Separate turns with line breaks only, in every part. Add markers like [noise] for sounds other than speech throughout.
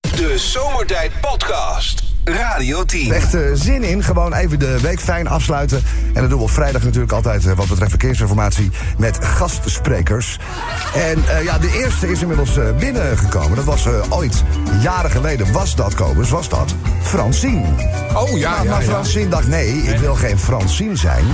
De Zomertijd Podcast. Radio 10.
Echt eh, zin in. Gewoon even de week fijn afsluiten. En dat doen we op vrijdag natuurlijk altijd eh, wat betreft verkeersinformatie met gastsprekers. En eh, ja, de eerste is inmiddels eh, binnengekomen. Dat was eh, ooit, jaren geleden was dat, Kobus, was dat Francine. Nou,
Oh ja,
maar
ja, ja.
Francine dacht, nee, ik wil geen Francine zijn.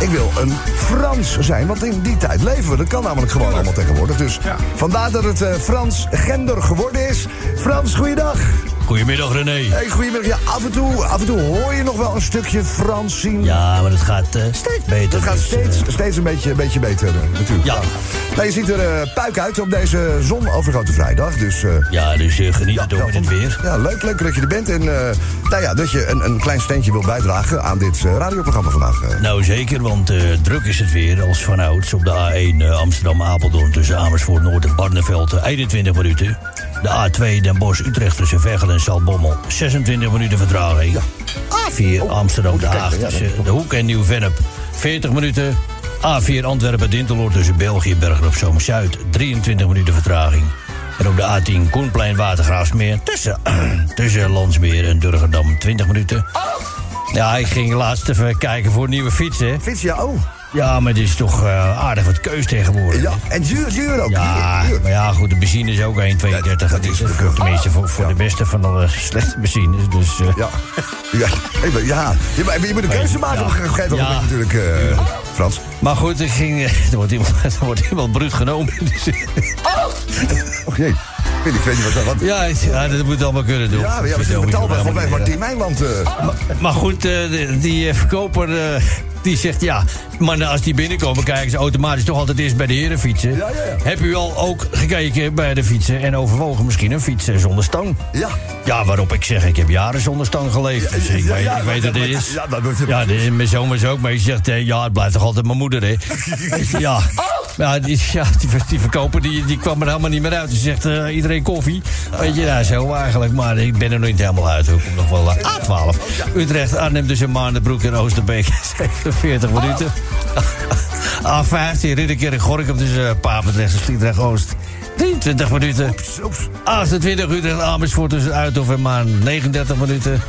Ik wil een Frans zijn, want in die tijd leven we. Dat kan namelijk gewoon allemaal tegenwoordig. Dus
Ja.
vandaar dat het eh, Frans gender geworden is. Frans, goeiedag.
Goedemiddag René.
Hey, goedemiddag. Ja, af en, toe, af en toe hoor je nog wel een stukje Frans zien.
Ja, maar het gaat eh, steeds beter.
Dat gaat
dus,
steeds,
eh,
steeds een beetje, een beetje beter, eh, natuurlijk.
Ja.
Nou, je ziet er eh, puik uit op deze zonovergrote vrijdag. Dus eh,
ja, dus eh, geniet
ja,
het ook met
welkom.
het weer.
Ja, leuk, leuk dat je er bent. En eh, nou ja, dat je een, een klein steentje wil bijdragen aan dit eh, radioprogramma vandaag. eh.
Nou zeker, want eh, druk is het weer als vanouds op de A1 eh, Amsterdam-Apeldoorn tussen Amersfoort Noord en Barneveld eh, 21 minuten. De A2 Den Bosch-Utrecht tussen Veghel en Salbommel 26 minuten vertraging. A4 Amsterdam-Den
kijken,
Haag
ja, dat
tussen
klopt.
De Hoek en Nieuw-Vennep 40 minuten. A4 Antwerpen-Dinteloord tussen België en Bergen op Zoom-Zuid 23 minuten vertraging. En op de A10 Koenplein-Watergraafsmeer tussen, [clears throat] tussen Landsmeer en Durgerdam 20 minuten. Ja, ik ging laatst even kijken voor nieuwe fietsen.
Fiets, ja, oh.
Ja, maar dit is toch eh, aardig wat keus tegenwoordig.
Ja, en duur, duur ook.
Ja,
duur, duur.
maar ja, goed, de benzine is ook 1,32.
dat is
Dus
natuurlijk ook-
Tenminste, voor, voor
Ja.
de beste van alle [laughs] slechte benzines. Dus, eh,
Ja. Ja, ja. ja. Je, maar je moet een keuze maken op een gegeven moment
Ja.
natuurlijk, eh, Frans.
Maar goed, ik ging, eh, er, wordt iemand, [laughs] er wordt iemand bruut genomen. [laughs] Dus,
Och Oh, jee. Ik weet- Ik weet niet wat dat... Wat,
ja, het- ja, dat moet allemaal kunnen doen.
Ja, ja, we
Verdomme,
zijn
je moet
betaalbaar van
helemaal
weg,
niet-
maar Team Mijnland... eh,
Maar goed, eh, de- die eh, verkoper eh, die zegt ja. Maar als die binnenkomen, kijken ze automatisch toch altijd eerst bij de herenfietsen.
Ja, ja, ja.
Heb u al ook gekeken bij de fietsen en overwogen misschien een fiets eh, zonder stang?
Ja.
Ja, waarop ik zeg, ik heb jaren zonder stang geleefd. Dus ik
ja,
weet,
ja,
ik weet
dat-
dat dit
dat-
is.
ja, dat moet je-
Ja, dit is mijn zoon was ook, maar je zegt, eh, ja, het blijft toch altijd mijn moeder, hè?
[laughs]
ja. Ja, die, ja, die, ver- die verkoper die, die kwam er helemaal niet meer uit. Ze zegt, eh, iedereen koffie. Weet je, nou, zo eigenlijk. Maar ik ben er nog niet helemaal uit. hoor. Ik kom nog wel eh, A12.
Oh,
Utrecht, Arnhem, dus een Maardenbroek en Oosterbeek. [laughs] 47 minuten. [laughs] A15, Ridderkerk, Gorkum, dus eh Papendrecht en Sliedrecht-Oost. 23 minuten.
oeps.
28 Utrecht Amersfoort tussen Uithof en Maan 39 minuten.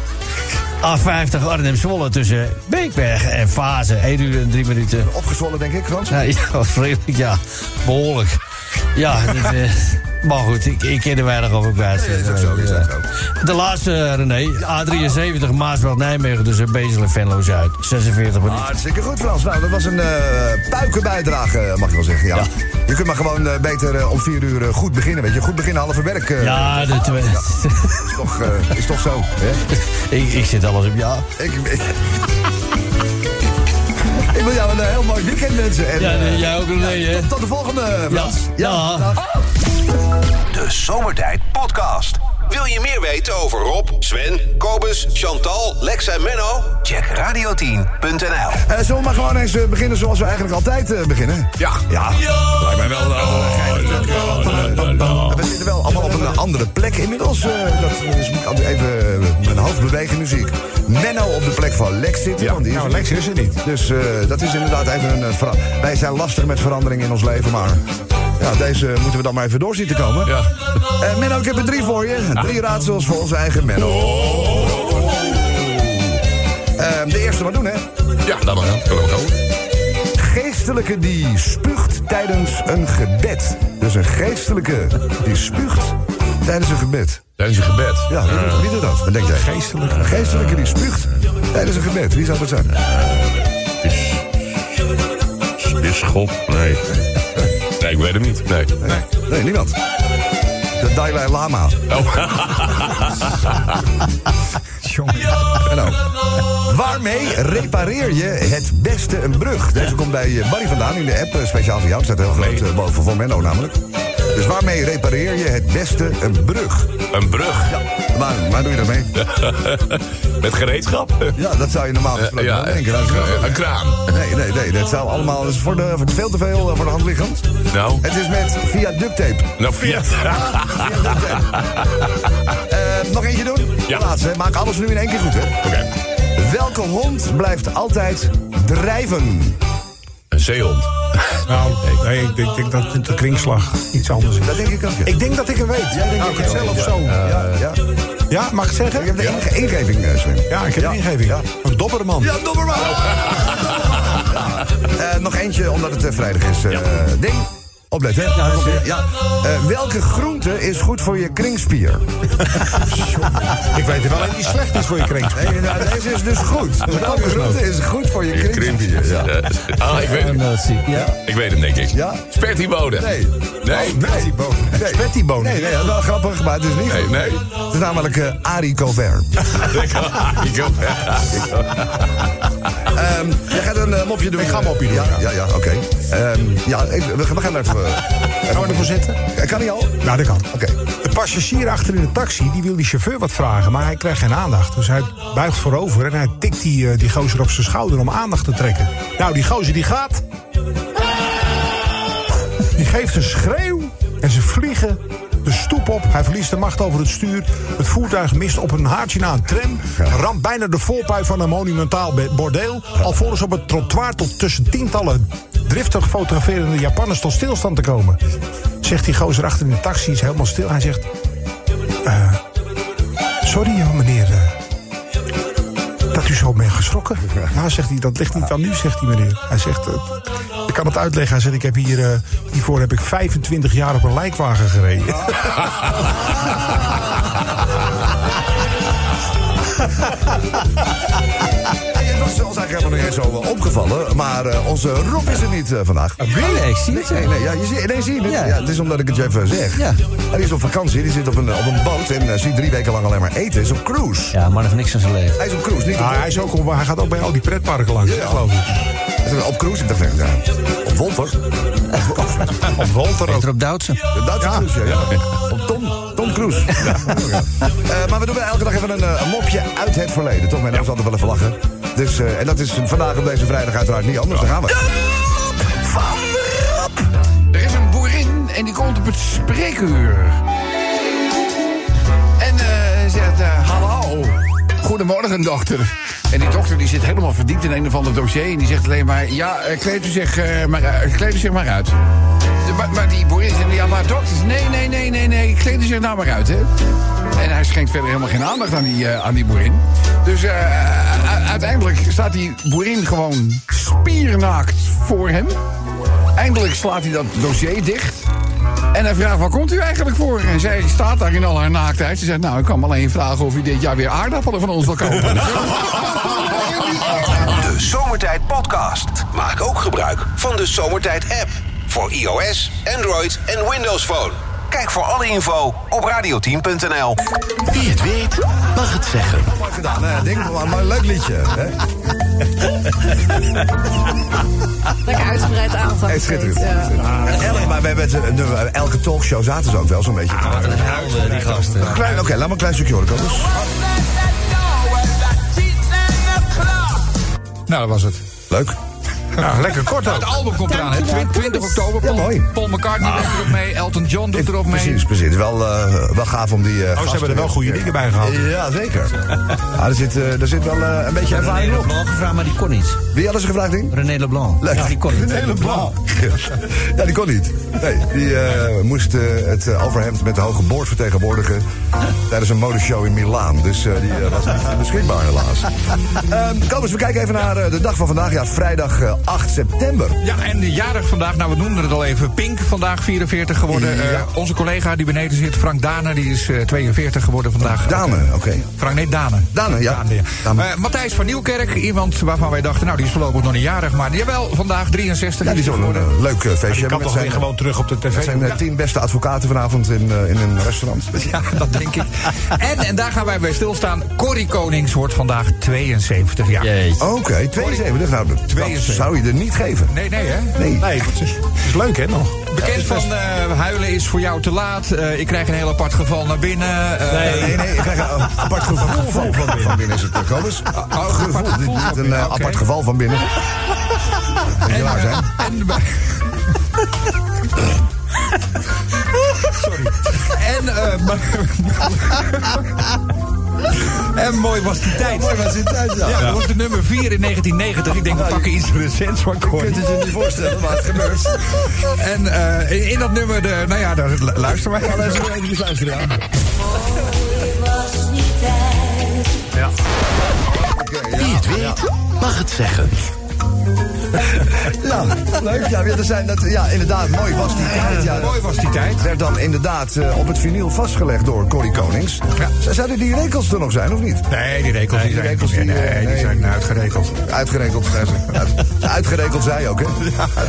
A50 Arnhem Zwolle tussen Beekberg en Fase 1 uur en 3 minuten.
Opgezwollen, denk ik, Frans.
Ja, [laughs] ja vreselijk, ja. Behoorlijk.
[laughs]
Ja, dit, eh, maar goed, ik, ik ken er weinig over kwijt.
is ook zo, is ook zo.
De laatste, eh, René. A73 Maasbracht-Nijmegen tussen Bezel en Venlo-Zuid. 46 minuten.
Hartstikke goed, Frans. Nou, dat was een eh puikenbijdrage, eh, mag je wel zeggen. Ja.
Ja.
Je kunt maar gewoon eh, beter eh, om vier uur eh, goed beginnen, weet je. Goed beginnen, halve werk. eh,
Ja, de [laughs] twee-
is, toch, eh, is toch zo, hè?
[laughs] ik, ik zit alles op ja.
Ik, ik... Ik wil jou een eh, heel mooi weekend wensen. En,
Ja,
eh,
nee, jij ook, René, hè?
tot, tot de volgende, Frans.
Ja.
dag.
De Zomertijd Podcast. Wil je meer weten over Rob, Sven, Kobus, Chantal, Lex en Menno? Check radio10.nl.
Eh, zullen we maar gewoon eens eh, beginnen zoals we eigenlijk altijd eh, beginnen?
Ja.
Ja.
Lijkt mij wel eh, een
Oh.
We zitten wel allemaal op een andere plek inmiddels. eh, dat is, moet ik altijd even eh, mijn hoofd bewegen nu zie ik Menno op de plek van Lex zitten.
Ja,
want die is
nou,
er
Lex is er niet.
Dus eh, dat is inderdaad even een... eh, vera- Wij zijn lastig met verandering in ons leven, maar... Ja, deze moeten we dan maar even door zien te komen.
Ja. Ah.
Eh, Menno, ik heb er drie voor je. Drie raadsels voor onze eigen Menno. Eh, de eerste maar doen, hè.
Ja, dat mag wel. Kan ook wel.
Geestelijke die spuugt tijdens een gebed. Dus een geestelijke die spuugt tijdens een gebed.
Tijdens je gebed.
Ja, wie doet, wie doet dat? Wat denk jij?
Geestelijke.
Een geestelijke die spuugt tijdens een gebed. Wie zou dat zijn?
Bisschop? Nee. Nee, ik weet hem niet. Nee. nee.
Nee, niemand. De Dalai Lama.
Oh.
En nou, Waarmee repareer je het beste een brug? Deze komt bij eh, Barry vandaan in de app, eh, speciaal voor jou. Het staat heel groot eh, boven voor Menno namelijk. Dus waarmee repareer je het beste een brug?
Een brug.
Waar, waar doe je dat mee?
[laughs] Met gereedschap. Eh,
Ja, dat zou je normaal gesproken
ja,
wel denken. Dat is wel-
een kraan.
Nee, nee, nee. Dat zou allemaal dat is voor de, voor veel te veel eh, voor de hand liggend.
Nou.
Het is met via duct tape.
Nou, Fiat.
Via duct tape.
[laughs]
Eh, nog eentje doen?
Ja.
De laatste. hè. Maak alles nu in één keer goed, hè?
Oké.
Welke hond blijft altijd drijven?
Een zeehond. [laughs]
Nou, nee, ik denk, denk dat de kringslag iets anders is.
Dat denk ik ook. ja.
Ik denk dat ik het weet.
Jij denkt
Nou,
dat
ik het
je
zelf
weet,
zo.
Ja, ja.
Ja, mag ik
Eh, Ik
zeggen?
heb de enige ingeving, eh, Sven.
Ja, ik heb een ingeving. Een dobberman.
Ja, Dobberman! Eh, nog eentje, omdat het eh, vrijdag is. eh, Ding, opletten. hè? Ja, komt-ie. ja. Eh, welke groente is goed voor je kringspier?
Ik weet er wel een die
Ah,
slecht is voor je kring.
Nee, nou, deze is dus goed. Welke groente is goed voor je kringspier?
Krimpier.
Ja.
Ah, ik weet
En
het.
dat zie ik. Ja.
Ik weet hem, denk ik.
Ja?
Spertibode.
Nee. Oh,
Nee.
Nee. Nee.
Spettibonen.
Nee, nee, dat is wel grappig, maar het is niet
Nee,
goed.
nee.
Het is namelijk eh Arie Colbert.
Ik ook.
Ehm, jij gaat een eh, mopje doen.
Ik ga een mopje doen,
Ja, ja, ja, oké. Ehm, ja, even- we, we gaan even... Gaan we ervoor zitten? Kan niet al? Oké.
Nou, dat kan. De passagier achter in de taxi die wil die chauffeur wat vragen, maar hij krijgt geen aandacht. Dus hij buigt voorover en hij tikt die, eh, die gozer op zijn schouder om aandacht te trekken. Nou, die gozer die gaat. Die geeft een schreeuw en ze vliegen de stoep op. Hij verliest de macht over het stuur. Het voertuig mist op een haartje na een tram. Ramt bijna de voorpui van een monumentaal be- bordeel. Alvorens op het trottoir tot tussen tientallen driftig fotograferende Japanners tot stilstand te komen. Zegt die gozer achter in de taxi, is helemaal stil. Hij zegt... "Eh, sorry eh, meneer... eh, dat u zo bent geschrokken. Ja, zegt hij, dat ligt niet aan u, zegt die meneer. Hij zegt, eh, ik kan het uitleggen. Hij zegt, ik heb hier, eh, hiervoor heb ik 25 jaar op een lijkwagen gereden.
Het was zelfs eigenlijk helemaal niet eens zo eh, opgevallen, maar eh, onze Rob is er niet eh, vandaag.
Nee, Ah, ik zie het
Nee,
zo.
nee, ja, je zie, nee, zie je het? Ja.
Ja.
het is omdat ik het je even zeg.
Ja.
Hij is op vakantie, die zit op een, op een boot en eh, ziet drie weken lang alleen maar eten. Hij is op cruise.
Ja, maar nog niks aan zijn leven.
Hij is op cruise, niet op,
Nou, hij, is ook, op- hij gaat ook bij al die pretparken langs,
Ja.
geloof ik.
hij is op cruise. Ik dacht, ja, op Wolter.
Op Walter ook.
Peter op Doutsen.
Dat is cruise, ja. ja. Op Tom, Tom Cruise. Ja. Eh, maar we doen wel elke dag even een, eh, een mopje uit het verleden. Toch, mijn naam is altijd wel even lachen. Dus, eh, en dat is vandaag op deze vrijdag uiteraard niet anders. Daar gaan we.
Er is een boerin en die komt op het spreekuur. En eh, zegt, eh, hallo, goedemorgen dokter. En die dokter die zit helemaal verdiept in een of ander dossier... en die zegt alleen maar, ja, eh, kleed u zich, eh, maar, eh, kleed u zich maar uit. De- maar, maar die boerin zegt, ja, maar dokter, nee, nee, nee, nee, nee, kleed u zich nou maar uit, hè. En hij schenkt verder helemaal geen aandacht aan die, eh, aan die boerin. Dus eh, u- u- uiteindelijk staat die boerin gewoon spiernaakt voor hem... Eindelijk slaat hij dat dossier dicht. En hij vraagt, waar komt u eigenlijk voor? En zij staat daar in al haar naaktheid. Ze zegt, nou, ik kwam alleen vragen of u dit jaar weer aardappelen van ons wil kopen.
De Zomertijd Podcast. Maak ook gebruik van de Zomertijd app. Voor iOS, Android en Windows Phone. Kijk voor alle info op radioteam.nl.
Wie het weet, mag het zeggen.
Mooi gedaan, hè? Denk maar, maar een leuk liedje. Hè?
Lekker uitgebreid aantal.
Hey, schitterend.
Ja.
En elke, maar we hebben het, eh, de- elke talkshow zaten ze ook wel zo'n beetje.
Ah,
Helden, die gasten.
Klein- Oké, laat maar een klein stukje horen, Kobus.
nou, dat was het.
Leuk.
Nou, lekker kort ook.
Het album komt eraan, hè? Twin- 20 oktober.
Ja,
Paul,
mooi.
Paul McCartney doet
Ah.
erop mee. Elton John doet erop mee.
Precies, precies. Het is Wel, eh, wel gaaf om die. eh,
Oh,
gasten
ze hebben er wel
weer-
goede dingen bij gehad.
Ja,
[laughs]
zeker. Ah, er, zit, eh, er zit wel eh, een beetje ervaring
René
op.
Leblanc gevraagd, maar die kon niet.
Wie hadden ze gevraagd, Ding?
René Leblanc.
Leuk.
Ja, die kon niet.
hele blauw. [laughs] Ja, die kon niet. Nee, die eh, moest eh, het eh, overhemd met de hoge boord vertegenwoordigen... tijdens een modeshow in Milaan. Dus eh, die eh, was niet [laughs] beschikbaar, helaas. Ehm kom eens, we kijken even naar eh, de dag van vandaag. Ja, vrijdag eh, 8 september.
Ja, en de jarig vandaag, nou we noemden het al even. Pink, vandaag 44 geworden. Eh, onze collega die beneden zit, Frank Dane, die is eh, 42 geworden vandaag.
Dame, oké.
Frank, nee, Dane.
Dane, ja.
ja.
Dane.
Eh, Matthijs van Nieuwkerk, iemand waarvan wij dachten, nou die is voorlopig nog niet jarig. Maar jawel, vandaag 63
Ja, die
is hij
zullen een
geworden.
eh, leuk eh, feestje
Je
hebben
kan
met
toch weer
zijn,
gewoon terug op de
met
tv.
zijn eh, tien beste advocaten vanavond in, eh, in een restaurant.
Ja, dat denk ik. En, en daar gaan wij bij stilstaan. Corrie Konings wordt vandaag 72 jaar.
Jeetje.
Oké, 72. Nou, dat
72.
zou je er niet geven.
Nee, nee, hè?
Nee.
Nee, het is, het is leuk, hè, nog?
Bekend van eh, huilen is voor jou te laat. Eh, ik krijg een heel apart geval naar binnen. Eh,
Nee, nee, ik krijg een apart geval van binnen. Van binnen is het, eh, Kobus.
apart
Gevoel,
gevoel
dit-
van
Niet een
binnen,
eh,
oké.
apart geval van binnen. Moet je waar zijn.
En bij- Sorry. En, eh, maar- en mooi was die tijd.
Mooi was die tijd, ja.
Ja, dat was de nummer 4 in 1990. Ik denk, we pakken iets recents van
Je
Corrie.
kunt het je niet voorstellen, maar het gebeurt.
En eh, in- in dat nummer, de, nou ja, daar, lu- luister maar.
Laten we even luisteren, ja.
Mooi was niet
mag het zeggen.
Ja, Nou, leuk. Ja, ja, er zijn, dat, ja inderdaad, mooi was die tijd. Ja,
Mooi was die tijd.
werd dan inderdaad eh, op het vinyl vastgelegd door Corrie Konings. Z- Zouden die rekels er nog zijn, of niet?
Nee, die rekels
die
die zijn,
rekels die,
nee,
eh,
nee, die
nee.
zijn uitgerekeld.
Uitgerekeld zijn ze.
[laughs]
Uit- Uitgerekeld zij ook, hè? Ja,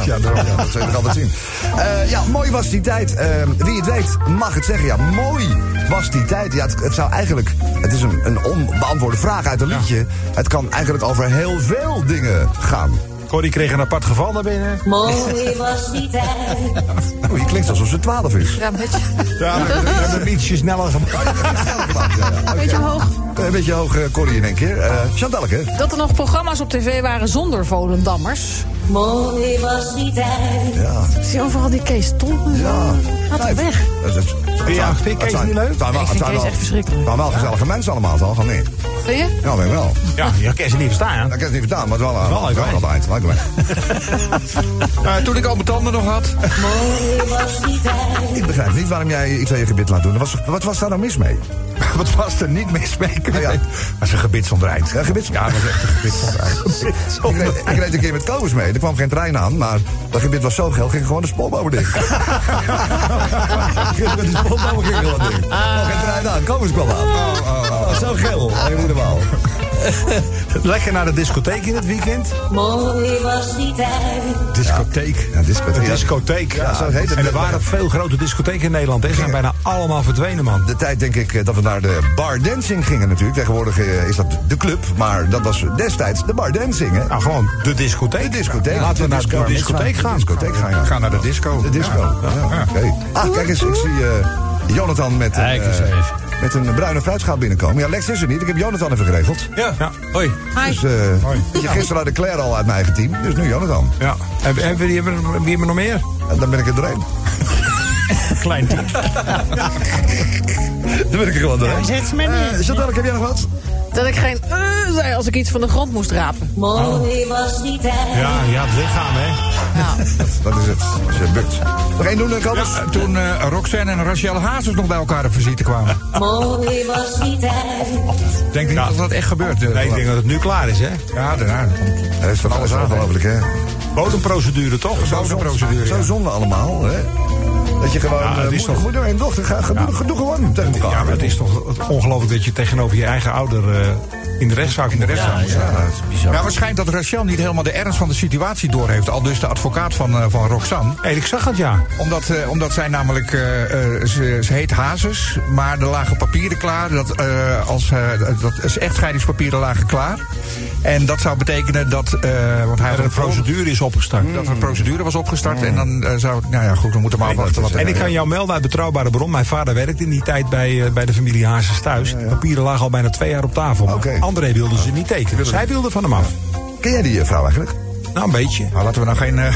ja, daarom,
ja, dat zou je nog altijd zien. Eh, ja, mooi was die tijd. Eh, wie het weet, mag het zeggen. Ja, mooi was die tijd. Ja, het, het zou eigenlijk... Het is een, een onbeantwoorde vraag uit een liedje. Het kan eigenlijk over heel veel dingen gaan.
Corrie kreeg een apart geval naar binnen.
Mooi was die tijd.
[laughs] Oeh, je klinkt alsof ze 12 is.
Ja, een beetje,
Ja, we hebben hem ietsje sneller gemaakt.
een beetje hoog.
Een beetje hoog, eh, Corrie, in één keer. Eh Chantalke.
Dat er nog programma's op tv waren zonder Volendammers.
Mooi was die tijd.
Zie je overal die Kees Ton?
Ja.
Gaat
Nee,
hij weg?
het- het- het- het-
Ja, vind je
het
Kees
zijn-
niet leuk?
het zijn wel-
Nee,
het
ik vind
zijn
Kees
wel-
echt verschrikkelijk.
Het waren wel gezellige mensen allemaal, toch? Of niet?
Zie je?
Ja, weet ik wel.
Ja, je kan ze niet verstaan.
Dat kan het niet vertaan, maar het is wel, eh,
Wel leuk,
wel
hè?
altijd. Leuk, [laughs] hè?
Eh, toen ik al mijn tanden nog had.
Mooi
Oh.
was die tijd.
Ik begrijp niet waarom jij iets aan je gebit laat doen. Er Was, wat was daar nou mis [laughs] mee?
Wat was er niet mis mee?
Nou ja.
was een gebidsondereind.
Ja, gebits.
Ja, dat was echt een
[laughs]
gebidsondereind.
Ik reed, ik reed een keer met Kobus mee. Er kwam geen trein aan, maar dat gebit was zo geld, ging gewoon de spolbomen dicht. [laughs] Met die spolbomen ging gewoon dicht. Er kwam geen trein aan, Kobus kwam aan. Oh, zo geel. Nee, moet wel.
Lekker naar de discotheek in het weekend.
Mooi was die tijd.
Discotheek.
Ja, discotheek.
Een discotheek.
Ja, zo heet het.
En er waren veel grote discotheken in Nederland. Ze zijn bijna allemaal verdwenen, man.
de tijd denk ik eh, dat we naar de bar dancing gingen natuurlijk. Tegenwoordig eh, is dat de club, maar dat was destijds de bar dancing. Hè?
Nou, gewoon de discotheek.
De discotheek.
Laten
De
we naar
disco-
de discotheek
de
gaan.
discotheek gaan, ja.
Ga naar de disco.
De disco.
Ja.
Ja, oké. Ah, kijk eens, ik zie eh, Jonathan met een,
Kijk eens
eh,
even.
met een bruine fruitschaal binnenkomen. Ja, Lex is er niet. Ik heb Jonathan even geregeld.
Ja.
Ja.
Hoi.
Dus eh, je gisteren had Claire al uit mijn eigen team. Dus nu Jonathan.
Ja. En en wie hebben we- wie hebben we nog meer?
En dan ben ik er doorheen.
[laughs] Klein team.
[laughs] Dan ben ik er gewoon doorheen.
Zet me neer.
Eh, Chantal, heb jij nog wat?
Dat ik geen eh zei als ik iets van de grond moest rapen.
Oh.
Mooi was die tijd.
Ja, ja, het lichaam, hè.
Ja.
Dat is het. Als je bukt. Nog één doen, eh, Kobus?
Ja, toen eh, Roxanne en Rachel Hazes nog bij elkaar op visite kwamen.
[laughs]
Mooi was die tijd.
Denk je
Ja.
dat dat echt gebeurt? eh,
Nee, ik denk dat het nu klaar is, hè.
Ja, daarna.
Er is van alles ongelooflijk, hè?
Bodemprocedure, toch?
Zo zonde,
Bodemprocedure,
zo
ja.
zonde allemaal, hè? Dat je gewoon...
Ja,
eh,
het is
moeder,
toch-
moeder en dochter, ga, ga, doe, doe gewoon tegen elkaar.
Ja, maar het is toch ongelooflijk dat je tegenover je eigen ouder eh, in de rechtszaak in de rechtszaak moet staan.
Ja, dat is bizar.
Nou, het schijnt dat Rachel niet helemaal de ernst van de situatie doorheeft. Al dus de advocaat van, eh, van Roxanne.
Hey, ik zag het, ja.
Omdat, eh, omdat zij namelijk, eh, eh, ze, ze heet Hazes, maar er lagen papieren klaar. Dat, eh, als, eh, dat, dat- echtscheidingspapieren lagen klaar. En dat zou betekenen dat, eh, want hij had
Er een procedure is opgestart.
Dat er een procedure was
Mm.
opgestart en dan eh, zou... Nou ja, goed, we moeten maar afwachten wat er...
En ik kan jou melden uit betrouwbare bron. Mijn vader werkte in die tijd bij, eh, bij de familie Hazes thuis. De Papieren lagen al bijna twee jaar op tafel. Maar
Oké.
André wilde ze niet tekenen. Zij wilde van hem af.
Ken jij die eh, vrouw eigenlijk?
Nou, een beetje.
Nou, laten we nou geen, eh,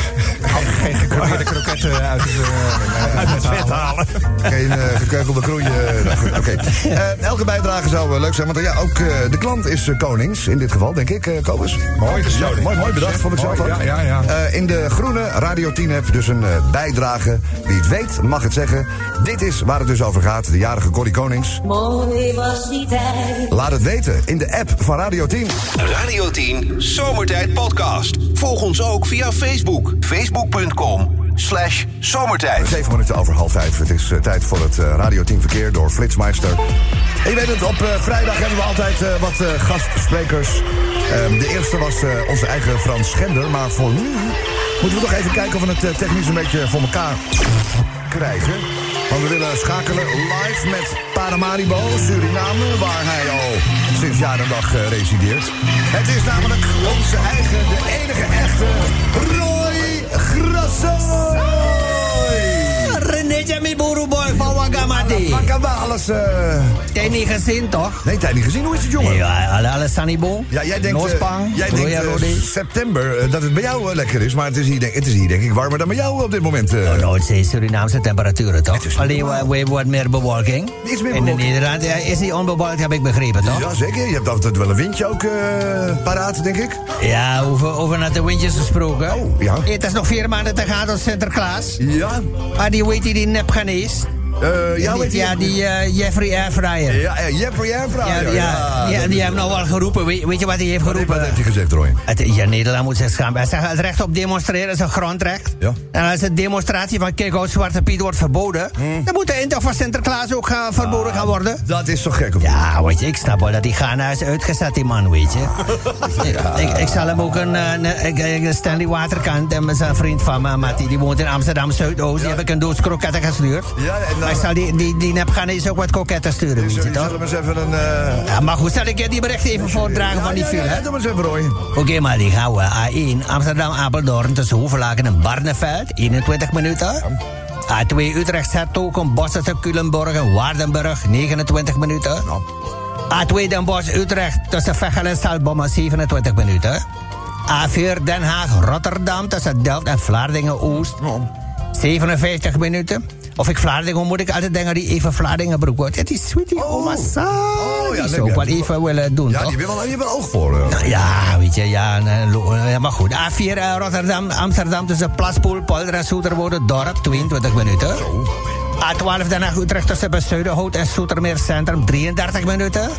geen gekruide kroketten uit het... eh,
Uit het vet halen.
Geen eh, gekeukelde kroeien. eh, nou goed, Oké. [laughs] Eh, elke bijdrage zou eh, leuk zijn. Want eh, ja, ook eh, de klant is eh, konings in dit geval, denk ik, eh Kobus.
Mooi,
Ja,
zo.
mooi, mooi bedacht, vond ik zelf ook.
Mooi, ja, ja, ja.
Eh, in de groene Radio 10 heb dus een eh, bijdrage. Wie het weet, mag het zeggen. Dit is waar het dus over gaat. De jarige Corrie Konings.
Mooi was die tijd.
Laat het weten in de app van Radio 10.
Radio 10 Zomertijd Podcast. Volg ons ook via Facebook. Facebook.com slash zomertijd.
Zeven minuten over half vijf. Het is eh, tijd voor het eh, Radio 10 Verkeer door Flitsmeister. En je weet het, op eh, vrijdag hebben we altijd eh, wat eh, gastsprekers. Ehm, de eerste was eh, onze eigen Frans Schender. Maar voor nu moeten we toch even kijken of we het eh, technisch een beetje voor elkaar krijgen. Want we willen schakelen live met Paramaribo, Suriname, waar hij al sinds jaar en dag eh, resideert. Het is namelijk onze eigen, de enige echte Roy Grasso.
René Jamie Boeroeboy van Wagamati.
Maar kan wel alles. eh,
Heb je niet gezien, toch?
Nee, tijd niet gezien. Hoe is het, jongen? Ja,
Ja, alle- alles sanibon.
jij denkt, eh,
Nospang,
jij denkt
Roya
eh,
Rodi.
september eh, dat het bij jou eh, lekker is. Maar het is, hier, denk- het is hier denk ik warmer dan bij jou op dit moment. eh.
Noordzee, Oh, Surinaamse temperaturen,
Het is
toch?
niet
Alleen
normaal.
we, we hebben wat meer bewolking.
Iets meer
In
bewolking.
Nederland eh, is die onbewolkt, heb ik begrepen, toch?
Ja, zeker. Je hebt altijd wel een windje ook eh, paraat, denk ik.
Ja, over, over naar de windjes gesproken. Eh,
Oh, ja.
Het is nog vier maanden te gaan tot Sinterklaas. Ah,
Ja.
Maar die weet die, die nep gaan is.
Eh, ja, weet je-
ja, die eh, Jeffrey Airfryer.
Ja, eh, Jeffrey Airfryer.
Ja, die- ja, die- die hebben nou wel geroepen. Weet, weet je wat hij heeft geroepen?
Wat heeft hij gezegd, Roy?
Het, ja, Nederland moet zich schamen. Hij zegt, het recht op demonstreren is een grondrecht.
Ja.
En als de demonstratie van Kikhout Zwarte Piet wordt verboden... dan moet de intocht van Sinterklaas ook gaan- verboden gaan worden.
Hmm. Ah, Dat is toch gek, of niet?
Ja, weet je, ik snap wel dat die Ghana is uitgezet, die man, weet je. ik, ik, ik zal hem ook een, eh, een, ik- ik- Stanley Waterkant, en zijn vriend van me, Mattie, die woont in Amsterdam Zuidoost, die heb ik een doos kroketten gestuurd.
Ja, en dan-
maar ik zal die, die, die nep Ghanese ook wat kroketten sturen,
Dus
weet je
jullie
toch?
zullen eens even een... eh,
Ja, maar goed, zal ik je die bericht even voordragen
ja,
van die
ja,
file?
ja,
hè?
doe maar eens even, Roy.
Oké, maar die gaan we. A1 Amsterdam Apeldoorn tussen Hoevelaken en Barneveld, 21 minuten. A2 Utrecht Sertogen, Bossen tussen Culemborg en Waardenburg, 29 minuten. A2 Den Bosch Utrecht tussen Veghel en Stalbommen, 27 minuten. A4 Den Haag Rotterdam tussen Delft en Vlaardingen Oost,
Oh.
57 minuten. Of ik Vlaardingen moet ik altijd denken die even Vlaardingenbroek wordt. Het is sweetie oh. oma Saar.
Oh, ja,
die
leuk,
zou ik
ja.
wel even willen doen,
Ja,
toch?
die wil wel, die wil oog voor. eh.
Nou, Ja, weet je, ja, en, eh, lo- eh, maar goed. A4 eh, Rotterdam, Amsterdam tussen Plaspoel, Polder en Soeterwoude dorp, 22 minuten. A12 Den Haag Utrecht tussen Bezuidenhout en Soetermeer Centrum, 33 minuten.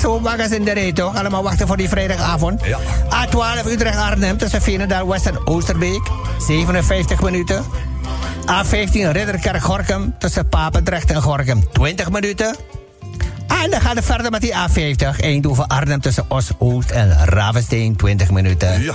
Zo wagens in de rij toch? Allemaal wachten voor die vrijdagavond.
Ja.
A12 Utrecht Arnhem tussen Veenendaal West en Oosterbeek, 57 minuten. A15 Ridderkerk Gorkum tussen Papendrecht en Gorkum, 20 minuten. En dan gaan we verder met die A50. Eindhoven, Arnhem tussen Os-Oost en Ravenstein, 20 minuten.
Ja.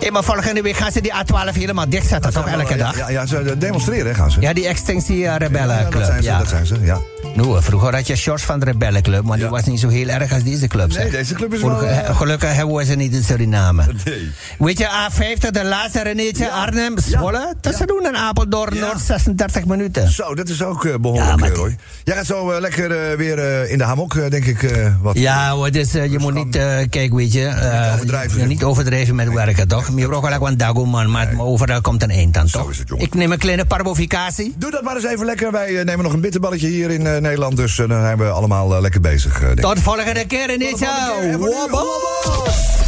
Hey, maar volgende week gaan ze die A12 helemaal dichtzetten, toch? Elke dag.
Ja, ja, ze demonstreren, hè, gaan ze.
Ja, die
Ja, dat
Extinctie-rebellenclub.
zijn ze,
Ja,
dat zijn ze, ja.
eh.
Nou, vroeger had je shorts van de rebellenclub, maar
Ja.
die was niet zo heel erg als deze club.
Nee,
zeg.
deze club is wel,
Gelukkig-
eh,
Gelukkig hebben we ze niet in Suriname.
Nee.
Weet je, A50, de laatste Renéetje, Arnhem, Zwolle. Tussen doen en Apeldoorn,
Ja.
Noord, 36 minuten.
Zo, dat is ook eh, behoorlijk,
Ja, maar
eh,
die-
Roy. Jij gaat zo eh, lekker eh, weer eh, in de hamok, eh, denk ik, eh, wat.
Ja, hoor, dus eh, je moet niet, eh kijk, weet je. eh,
overdrijven, zeg.
Niet overdrijven met werken, toch? Maar je braucht wel ook een dago, man. Maar maar overal komt een eind aan, toch?
is het, jongen.
Ik neem een kleine parbovicatie.
Doe dat maar eens even lekker. Wij eh, nemen nog een bitterballetje hier in eh, Nederland. Dus eh, dan zijn we allemaal eh, lekker bezig. eh, denk ik.
Tot volgende keer in dit jaar.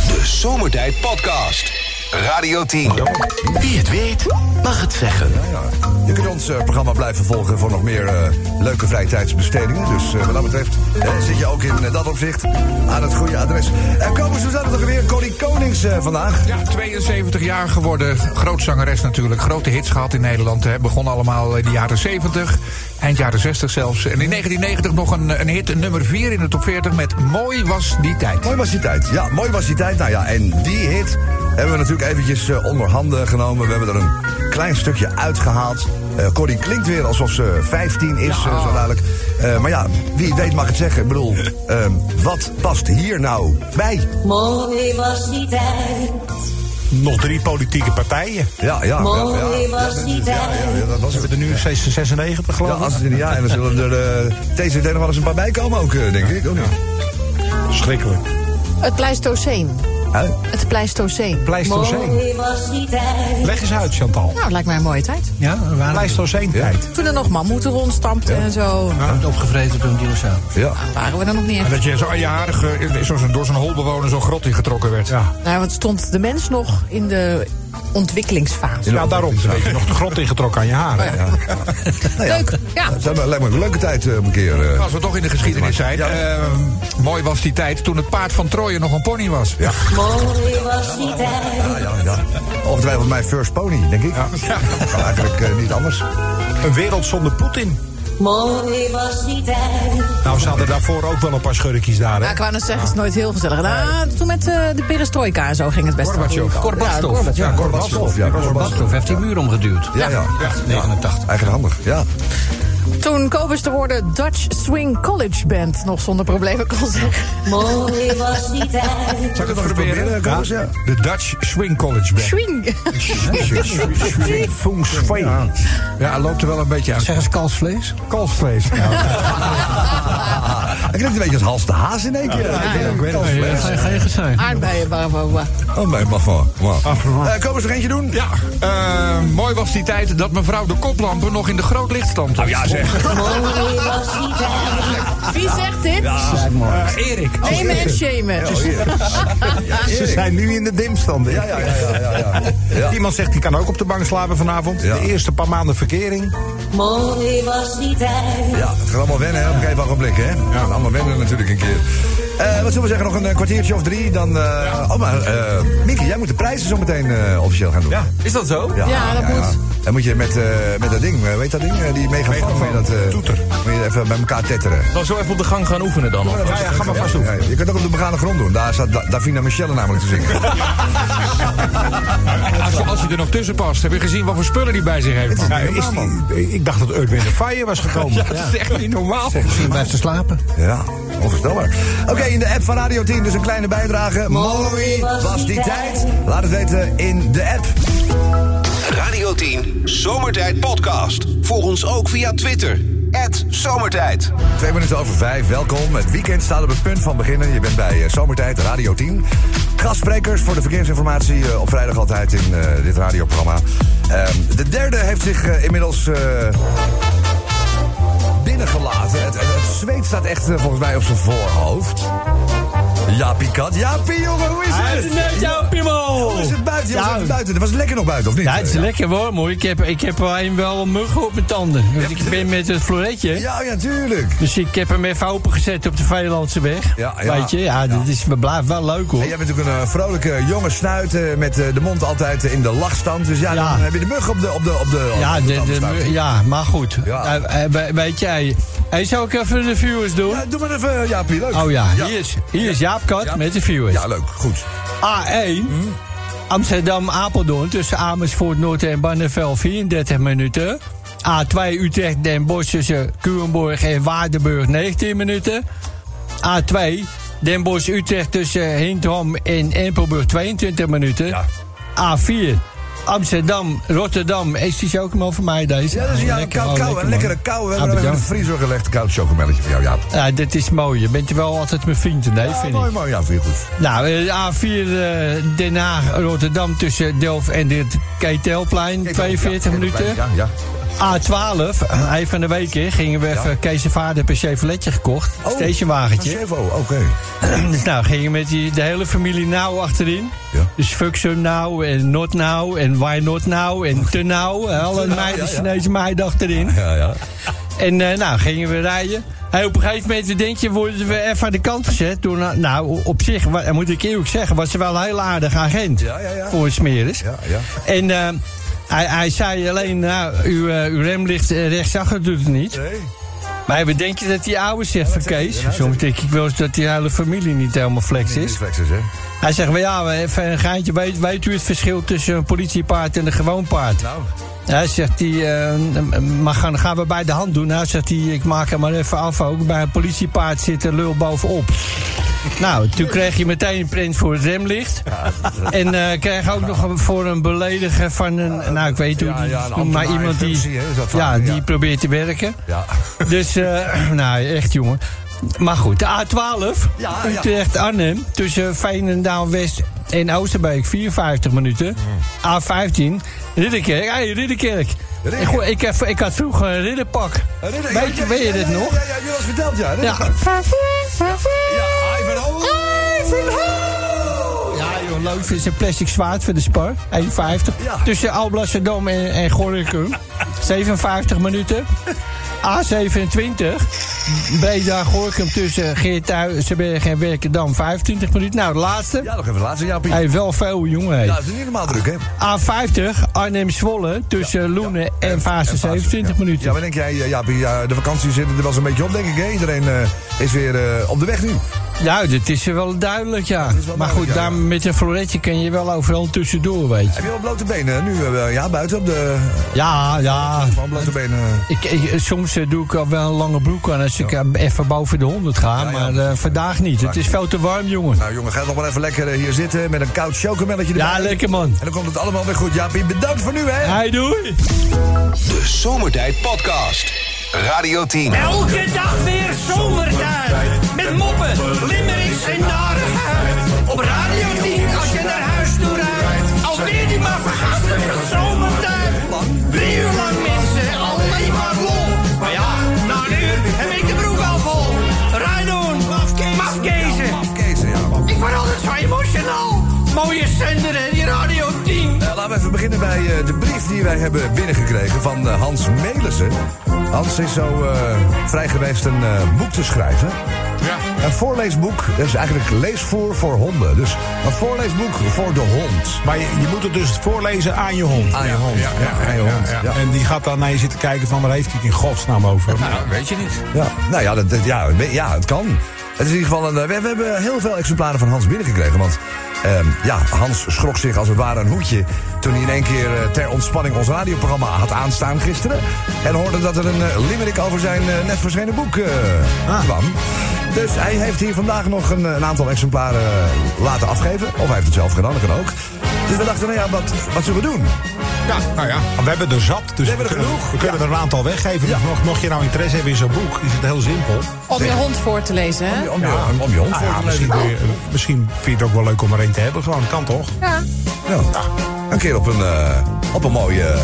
De Zomertijd Podcast. Radio 10.
Wie het weet, mag het zeggen.
Je kunt ons eh, programma blijven volgen voor nog meer eh, leuke vrijtijdsbestedingen. Dus eh, wat dat betreft eh, zit je ook in eh, dat opzicht aan het goede adres. En komen ze zaterdag weer Connie Konings eh, vandaag.
Ja, 72 jaar geworden. Groot zangeres natuurlijk. Grote hits gehad in Nederland. Hè. Begon allemaal in de jaren 70. Eind jaren 60 zelfs. En in 1990 nog een, een hit, een nummer 4 in de top 40 met Mooi was die tijd.
Mooi was die tijd. Ja, mooi was die tijd. Nou ja, en die hit hebben we natuurlijk eventjes eh, onder handen genomen. We hebben er een klein stukje uitgehaald. Eh Corrie klinkt weer alsof ze 15 is, eh, zo duidelijk. Eh, maar ja, wie weet mag het zeggen. Ik bedoel, [laughs] ehm, wat past hier nou bij?
Mooi was die tijd.
Nog drie politieke partijen.
Ja, ja, ja. ja,
Mooi was die
Ja, ja, ja,
tijd.
dat was
We
het.
hebben er nu 96
Ja,
geloof
als
ik.
het in ja, en dan zullen er eh TCT nog wel eens een paar bij komen ook, eh, denk ik. Ook niet.
Schrikkelijk.
Het Pleistoceen.
Hè?
Het Pleistoceen.
Pleistoceen.
Mooi was die tijd.
Leg eens uit, Chantal.
Nou, lijkt mij een mooie tijd.
Ja, waar
Pleistoceen tijd.
Toen er nog mammoeten rondstampten en zo.
opgevreten door een dinosaurus.
Ja.
Waren we dan nog niet
En
echt.
dat je zo aan je haar, eh, zoals een- door zo'n holbewoner zo'n grot in getrokken werd.
Ja.
Nou, want stond de mens nog in de
[laughs]
ontwikkelingsfase.
Ja, daarom. Een beetje nog de grond ingetrokken aan je haren.
Leuk, ja.
Het lijkt me een leuke tijd eh, om een keer. eh,
Als we toch in de geschiedenis zijn. eh, mooi was die tijd toen het paard van Troje nog een pony was. Ja.
Mooi was die tijd.
ja, ja, ja. Ongetwijfeld mijn first pony, denk ik. Ja.
[laughs] Nou,
Kan eigenlijk eh, niet anders.
Een wereld zonder Poetin.
Mooi was die tijd.
Nou, ze hadden daarvoor ook wel een paar schurkjes daar.
Nou,
Hè?
ik wou net zeggen, het is nooit heel gezellig. Nou, toen met eh, de perestroika en zo ging het best wel
Gorbatsjov.
goed. Ja,
Gorbatstof.
Gorbatsjov.
Ja, Gorbatsjov. Ja, Gorbatsjov.
Gorbatstof heeft die muur omgeduwd.
Ja, ja.
Ja,
89.
Eigenlijk handig, ja.
Toen Kobus te worden Dutch Swing College Band nog zonder problemen kon zeggen.
Mooi was die tijd.
Zal ik het nog eens proberen,
jako,
Koos? Ja.
De Dutch Swing College Band.
Swing.
[laughs]
Fungsveen.
Ja, hij loopt er wel een beetje aan.
Zeg eens kalfsvlees.
Kalfsvlees.
[laughs]
Hij klinkt een beetje als Hals de Haas in één keer. Ja, ik weet het niet.
Ga je gezegd.
Aardbeien. wa- wa- wa.
Oh, mijn maffa.
Afgemaakt.
Komen eens er Eh, eentje doen?
Ja, eh, mooi was die tijd dat mevrouw de koplampen nog in de groot licht stond.
Nou ja, zeg.
[laughs]
Wie zegt dit?
Eh, Erik.
Oh,
Nemen en shamen.
Ze zijn nu in de dimstanden.
Ja, ja, ja, ja, ja,
[laughs]
ja. Ja.
Iemand zegt, die kan ook op de bank slapen vanavond.
Ja.
De eerste paar maanden verkering.
Mooi was die tijd.
Ja, het gaat allemaal wennen hè, op een gegeven ogenblik, hè? Ja. Allemaal wennen natuurlijk een keer. Eh, wat zullen we zeggen, nog een eh, kwartiertje of drie? Dan, eh, Oh, maar eh Mieke, jij moet de prijzen zo meteen eh, officieel gaan doen. Ja,
Is dat zo?
Ja, dat moet.
Dan moet je met, eh, met dat ding, eh, weet dat ding? eh, die megafoon, moet je dat... eh, Moet je even bij elkaar tetteren.
Zal ik zo even op de gang gaan oefenen dan? of?
Ja, ja, ga maar vast doen.
Ja, je kunt ook op de begane grond doen. Daar staat Da- Davina Michelle namelijk te zingen.
Als je, als je er nog tussen past, heb je gezien wat voor spullen die bij zich heeft? man?
Ja, is die, ik dacht dat Earth, Wind Fire was
[laughs]
gekomen.
Ja, dat is echt [laughs] niet normaal.
Misschien blijft ze slapen.
Ja, onvoorstelbaar. Oké, in de app van Radio 10 dus een kleine bijdrage. Mooi was die tijd. Laat het weten in de app.
Radio 10 Zomertijd Podcast. Volg ons ook via Twitter. Zomertijd.
Twee minuten over vijf, welkom. Het weekend staat op het punt van beginnen. Je bent bij eh, Zomertijd, Radio 10. Gastsprekers voor de verkeersinformatie eh, op vrijdag altijd in eh, dit radioprogramma. Ehm, de derde heeft zich eh, inmiddels... eh, Binnengelaten. Het, het, het zweet staat echt eh, volgens mij op zijn voorhoofd. Jaapie Kat. Jaapie, jongen, hoe is het? Hoe is het buiten? Jongens,
Ja.
even buiten. Het was lekker nog buiten, of niet?
Ja, het is
Ja.
lekker hoor, mooi. Ik heb, ik heb alleen wel een muggen op mijn tanden. Want ik ben met het floretje.
Ja, ja, tuurlijk.
Dus ik heb hem even opengezet op de Vijlandse weg.
Ja, Ah, ja.
Weet je, ja, dat is, het blijft wel leuk hoor.
En jij bent natuurlijk een eh, vrolijke jonge snuit eh, met eh, de mond altijd eh, in de lachstand. Dus ja,
Ja.
dan heb je de mug op de op de op de. op
Ja,
de
de, de,
tandenstuit.
ja maar goed.
Ja.
Eh, eh, we- weet jij. Hey, zou ik even de viewers doen?
Ja, doe maar even, eh, Jaapie, leuk.
Oh ja, hier is, hier is Jaap Kat met de viewers.
Ja, leuk, goed. Hm?
A1. Amsterdam-Apeldoorn tussen Amersfoort, Noord en Barneveld 34 minuten. A2 Utrecht, Den Bosch tussen Culemborg en Waardenburg 19 minuten. A2 Den Bosch, Utrecht tussen Hindham en Empelburg 22 minuten. A4 Amsterdam, Rotterdam. Is die chocomel voor mij deze?
Ja, dat is
Oh,
Dus ja, een
lekker,
kou,
oh,
kou,
lekker,
een lekkere
man.
kou. We
Ah,
hebben even in de
bedankt.
vriezer gelegd, een koud chocomelletje voor jou, Jaap.
Ja, dit is mooi. Je bent wel altijd mijn vriend, nee, vind ik.
mooi, mooi, ja, vind je goed.
Nou, eh, A4 eh, Den Haag, Rotterdam tussen Delft en dit Ketelplein, 42 minuten.
Ja, ja.
A12, even van de week in, gingen we even Kees en Vader per Chevroletje gekocht.
Oh,
stationwagentje.
een Chevo, oké.
[clears throat] dus nou, gingen met die, de hele familie nauw achterin.
Ja.
Dus Fuxum nou en Not nou en Why Not nou en
[laughs]
Te nou. Alle meiden,
ja, ja.
Chinese meiden achterin.
Ja, ja.
En eh, nou, gingen we rijden. Hey, op een gegeven moment denk je, worden we even aan de kant gezet. Door, nou, nou, op zich, wa- dat moet ik eerlijk zeggen, was ze wel een heel aardig agent.
Ja, ja, ja.
Voor een smeris.
Ja, ja.
En eh, hij, hij zei alleen, nou, uw, eh, uw remlicht eh, rechtsachter doet het niet.
Nee.
Maar we denken dat die oude zegt van Kees. Soms denk ik wel eens dat die hele familie niet helemaal flex
Dit is
is.
flexes, hè?
Hij zegt, maar ja, maar even een geintje. Weet, weet u het verschil tussen een politiepaard en een gewoon paard?
Nou,
Hij zegt hij, eh, maar gaan, gaan we bij de hand doen? Hij zegt hij, ik maak hem maar even af ook. Bij een politiepaard zit een lul
[laughs]
bovenop. Nou, toen kreeg je meteen een print voor het remlicht. En eh kreeg ook nog een- voor een belediger van een... Nou, ik weet hoe
ja,
die-
ja, een
maar
ambtenaar
iemand
in
die...
functie, hè, is dat vaak,
ja,
ja.
die probeert te werken.
ja.
Dus, eh, [clears throat] nou, echt jongen. Maar goed, de A12,
Ja, ja.
Utrecht-Arnhem, tussen Veenendaal-West en Oosterbeek, 54 minuten. A15, Ridderkerk, hé,
Hmm.
hey, Ridderkerk.
Ridderkerk.
Ik, gooi- ik, heb, ik had vroeger een ridderpak.
Ridder-
weet,
ja, ja,
weet je
ja,
dit
ja,
nog?
Ja, ja, je was verteld, ja.
Ja.
Ridder- Ja, Ivanhoe.
Ja, joh, leuk vind een plastic zwaard voor de spar, 1,50.
Ja.
Tussen Alblasserdam en,
[laughs]
en Gorinchem, 57 minuten. A27, Breda-Gorinchem tussen Geertuizenberg en Werkendam, 25 minuten. Nou, de laatste.
Ja, nog even laatste, Jaapie.
Hij heeft wel veel Oh, jongen. hè.
Ja, het is niet normaal druk, hè?
A50 Arnhem-Zwolle tussen Loenen en
En
Vaassen
Pasen,
27
ja.
minuten.
Ja, maar denk jij, eh, Jaapie, ja, de vakantie zit er wel zo'n beetje op, denk ik. Hè? Iedereen eh, is weer eh, op de weg nu.
Ja, dat is wel duidelijk, ja.
is wel
maar
duidelijk,
goed,
ja, ja.
daar met een floretje kan je wel overal tussendoor, weet je.
Heb je wel blote benen nu? eh, ja, buiten op de...
Ja, ja.
Gewoon blote benen. eh.
Ik, ik- soms eh, doe ik al wel een lange broek aan als ik eh, even boven de 100 ga.
ja,
maar
precies.
eh, vandaag niet. Het is veel te warm, jongen.
Nou jongen, ga nog maar even lekker eh, hier zitten met een koud chocomelletje erbij.
Ja, lekker man.
En dan komt het allemaal weer goed, Jaapie. Bedankt voor nu, hè.
Hey, doei.
De Zomertijd Podcast. Radio 10.
Elke dag weer zomertijd. Met moppen, limmerings en narigheid. Op Radio 10 als je naar huis toe rijdt. Alweer die maar vergasten van zomertijd. Drie uur lang mensen, alleen maar lol. Maar ja, mafkezen. Ik word altijd zo emotional. Mooie zender, hè, die Radio 10.
Nou, laten we even beginnen bij eh, de brief die wij hebben binnengekregen van eh, Hans Melissen. Hans is zo eh, vrij geweest een eh, boek te schrijven. Een voorleesboek, dat is eigenlijk leesvoer voor honden. Dus een voorleesboek voor de hond.
Maar je, je moet het dus voorlezen aan je hond.
Aan je hond, ja, aan je hond, ja.
En die gaat dan naar je zitten kijken van waar heeft hij het in godsnaam over.
Nou, weet je niet.
Ja, nou ja, dat, dat- ja, we- ja, het kan. Het is in ieder geval een, eh, we, we hebben heel veel exemplaren van Hans binnengekregen. Want ehm, ja, Hans schrok zich als het ware een hoedje. toen hij in één keer eh, ter ontspanning ons radioprogramma had aanstaan gisteren. En hoorde dat er een eh, limerick over zijn eh, net verschenen boek eh,
Ah.
kwam. Dus hij heeft hier vandaag nog een, een aantal exemplaren eh, laten afgeven. Of hij heeft het zelf gedaan, dat kan ook. Dus we dachten, nou ja, wat, wat zullen we doen?
Ja, nou ja. We hebben er zat, dus we,
hebben er
kunnen-
genoeg.
we kunnen er een aantal weggeven. Dus mocht, mocht je nou interesse hebben in zo'n boek, is het heel simpel.
Om je hond voor te lezen, hè?
Om je, om, om je hond
Nou
voor
ja,
te
misschien,
lezen.
kun je- misschien vind je het ook wel leuk om er één te hebben. Gewoon, kan toch?
Ja.
Ja. Nou, Een keer op een, eh, op een mooie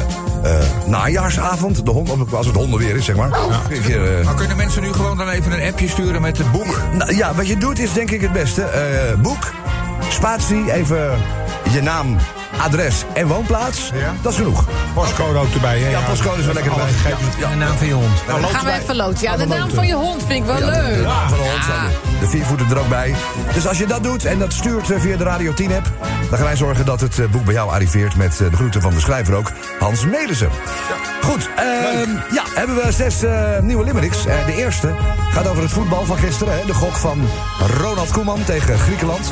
eh, najaarsavond. De hond, op- als het hondenweer is, zeg maar. Een keer, eh,
Nou,
Maar kunnen mensen nu gewoon dan even een appje sturen met het boek?
nou, ja, wat je doet is denk ik het beste. Eh, boek, spatie, even je naam, adres en woonplaats. Dat is genoeg.
Postcode ook erbij. hè?
Ja, postcode is wel lekker
alle
erbij.
gegevens.
Ja,
De naam van je hond.
nou,
Dan
lopen
gaan we
wij-
even loten. Ja, de
we
naam
loten.
van je hond vind ik wel
Ja, de-
leuk.
De, naam van de hond zijn de, de viervoeten er ook bij. Dus als je dat doet en dat stuurt eh, via de Radio 10-app... dan gaan wij zorgen dat het eh, boek bij jou arriveert... met eh, de groeten van de schrijver ook, Hans Medelsen. Goed, ehm, ja, hebben we zes eh, nieuwe limericks. Eh, de eerste gaat over het voetbal van gisteren. Hè, de gok van Ronald Koeman tegen Griekenland.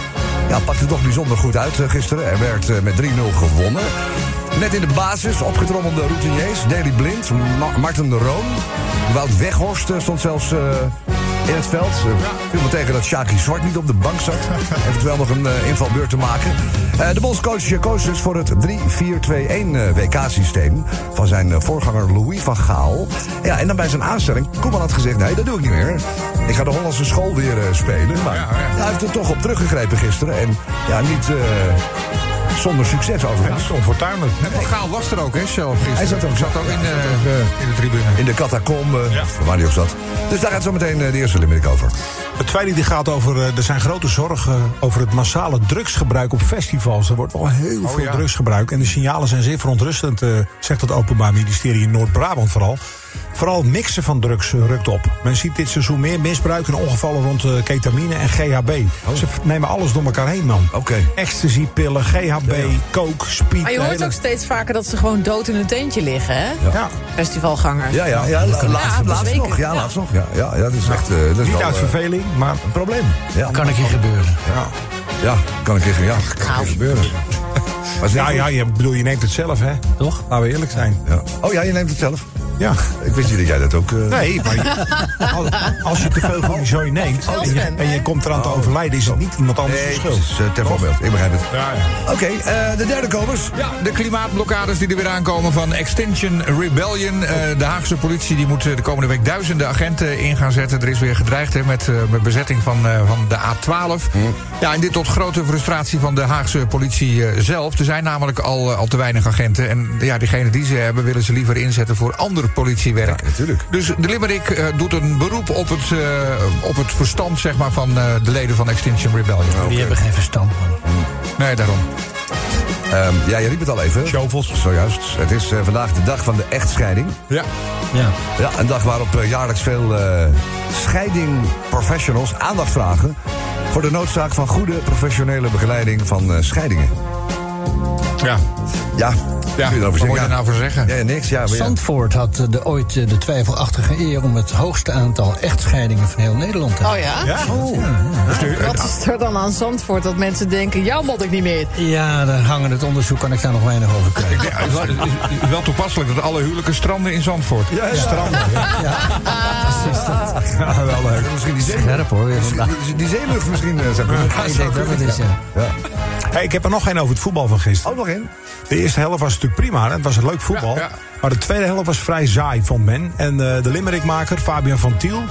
Ja, pakte toch bijzonder goed uit eh, gisteren. Er werd eh, met 3-0 gewonnen. Net in de basis opgetrommelde routiniers. Daley Blind, Ma- Martin de Roon. Wout Weghorst eh, stond zelfs eh, in het veld. Eh, viel me tegen dat Shaki Zwart niet op de bank zat. Eventueel nog een eh, invalbeurt te maken. Eh, de bondscoach eh, koos dus voor het 3-4-2-1 WK-systeem... eh, van zijn eh, voorganger Louis van Gaal. Ja, en dan bij zijn aanstelling, Koeman had gezegd... nee, dat doe ik niet meer. Ik ga de Hollandse school weer eh, spelen. Maar hij heeft er toch op teruggegrepen gisteren. En ja, niet eh, zonder succes overigens.
Onfortuinlijk.
En Van Gaal was er ook, hè, zelf gisteren.
Hij zat ook- eh,
zat ook in de, in de tribune.
In de catacombe, waar hij ook zat. Dus daar gaat zo meteen eh, de eerste limerick over.
Het tweede die gaat over, eh, er zijn grote zorgen over het massale drugsgebruik op festivals. Er wordt wel
Oh,
heel veel drugsgebruik en de signalen zijn zeer verontrustend, eh, zegt het Openbaar Ministerie in Noord-Brabant vooral. Vooral het mixen van drugs eh, rukt op. Men ziet dit seizoen meer misbruik en ongevallen rond eh, ketamine en GHB. Ze v- nemen alles door elkaar heen, man.
Oh. Oké.
Ecstasy-pillen, GHB, coke, speed.
Maar je
de
hoort
hele-
ook steeds vaker dat ze gewoon dood in een teentje liggen, hè?
Ja.
Festivalgangers.
Ja, ja, ja, la- laatst,
Ja,
laatst
zeker.
nog. Ja, laatst nog. Ja, ja, ja dat is echt... eh, dat is
Niet
wel,
uit
eh,
verveling, maar
een probleem. Ja,
Kan ik hier gebeuren?
ja.
ja kan ik zeggen. Ja, kan het gebeuren. [laughs] Maar is
Ja,
niet
ja,
goed.
je, bedoel, je neemt het zelf, hè? Toch? Laten we eerlijk zijn.
Ja. Oh ja, je neemt het zelf.
Ja.
Ik wist niet dat jij dat ook... eh,
Nee,
[laughs]
maar je- als je te veel van die zooi neemt en je, en je komt eraan te overlijden, is het
Oh.
niet iemand anders
Nee,
de
het
schuld.
is eh, ter voorbeeld. Ik begrijp het.
Ja, ja.
Oké, eh, de derde komers.
Ja, de klimaatblokkades die er weer aankomen van Extinction Rebellion. Eh, de Haagse politie die moet eh, de komende week duizenden agenten in gaan zetten. Er is weer gedreigd hè, met, eh, met bezetting van, eh, van de A12.
Hm.
Ja, en dit tot grote frustratie van de Haagse politie eh, zelf. Er zijn namelijk al, eh, al te weinig agenten. En ja, degene die ze hebben willen ze liever inzetten voor ander politiewerk.
Ja, natuurlijk.
Dus de Limerick eh, doet een beroep op het, eh, op het verstand zeg maar, van eh, de leden van Extinction Rebellion.
Die hebben geen verstand, man.
Nee, daarom.
Ehm, ja, je riep het al even.
Shovels.
Zojuist. Het is eh, vandaag de dag van de echtscheiding.
Ja.
Ja.
Ja, een dag waarop eh, jaarlijks veel eh, scheidingprofessionals aandacht vragen... voor de noodzaak van goede professionele begeleiding van eh, scheidingen.
Ja,
Ja,
ja.
kun
wat
je erover
moet je
zeggen?
er nou voor zeggen?
Ja, niks. Ja, maar ja.
Zandvoort had eh, de, ooit eh, de twijfelachtige eer om het hoogste aantal echtscheidingen van heel Nederland te
Oh ja? Wat is er dan aan Zandvoort dat mensen denken, jou moet ik niet meer.
Ja, daar hangen het onderzoek, kan ik daar nog weinig over krijgen.
Ja, het is- het is wel toepasselijk dat alle huwelijken stranden in Zandvoort.
Ja, ja. Stranden.
Ja, wel leuk.
Misschien die, zee...
Scherp hoor, weer vandaag.
Dus die- die zeelucht misschien eh, zou kunnen.
Ik denk dat het is, eh. ja.
Hey, ik heb er nog één over het voetbal van
Ook
gisteren.
nog in.
De eerste helft was natuurlijk prima. hè? Het was een leuk voetbal.
Ja, ja.
Maar de tweede helft was vrij saai, vond men. En eh, de limmerikmaker Fabian van Tiel...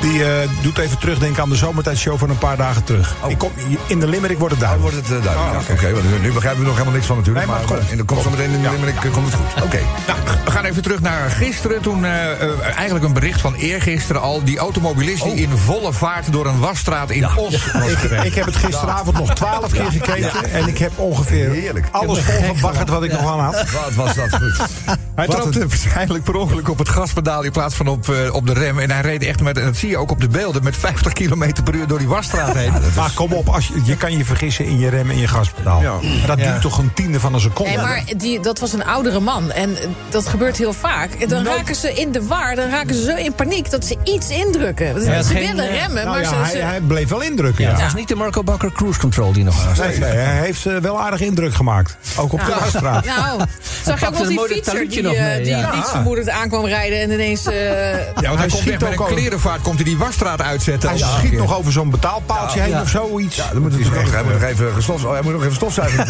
Die eh, doet even terugdenken aan de zomertijdshow van een paar dagen terug.
Oh.
Ik kom, in de Limerick wordt het duidelijk.
wordt het eh, duidelijk. Oké, want nu begrijpen we nog helemaal niks van natuurlijk.
Nee, maar het
maar eh,
komt.
in de komt zo meteen in de Limerick eh, komt het goed. Oké.
Nou, we gaan even terug naar gisteren. Toen eh, eh, eigenlijk een bericht van eergisteren al. Die automobilist die in volle vaart door een wasstraat in Os was
Ik,
gereden.
ik heb het gisteravond nog twaalf keer gekeken. En ik heb ongeveer
Heerlijk.
alles
Ik heb me gek
volgebaggerd wat ik
gemaakt.
nog aan had.
Wat was dat
[laughs]
goed?
Hij
Wat
trapte
een- waarschijnlijk per ongeluk op het gaspedaal in plaats van op, eh, op de rem. En hij reed echt met, en dat zie je ook op de beelden, met 50 km per uur door die wasstraat heen.
Maar kom op, als je, je kan je vergissen in je rem en je gaspedaal. Maar Dat duurt toch een tiende van een seconde.
Nee, maar die, dat was een oudere man. En eh, dat gebeurt heel vaak. En Dan raken ze in de war, dan raken ze zo in paniek dat ze iets indrukken. Dat-
Ja,
ze
geen,
willen
eh,
remmen,
Nou
maar
ja,
ze...
hij,
ze-
hij bleef wel indrukken.
Ja,
Ja.
Het was niet de Marco Bakker Cruise Control die nog was.
Nee, nee, hij heeft eh, wel aardig indruk gemaakt. Ook op de
Nou,
wasstraat.
Nou, zag je ook
pakte
wel
een
die
mooi
fietser
talentje
die,
nog
eh,
mee,
die
ja.
niet vermoedend aankwam rijden en ineens... eh,
Ja, want hij,
Hij
komt
schiet
echt met
ook
een
al-
klerenvaart komt hij die wasstraat uitzetten.
Hij
Ja.
schiet nog over zo'n betaalpaaltje
Ja,
heen
ja.
of zoiets.
Ja, dan moet het natuurlijk echt. Hij moet
eh,
nog even gestof, oh, hij moet nog even stofzuigen.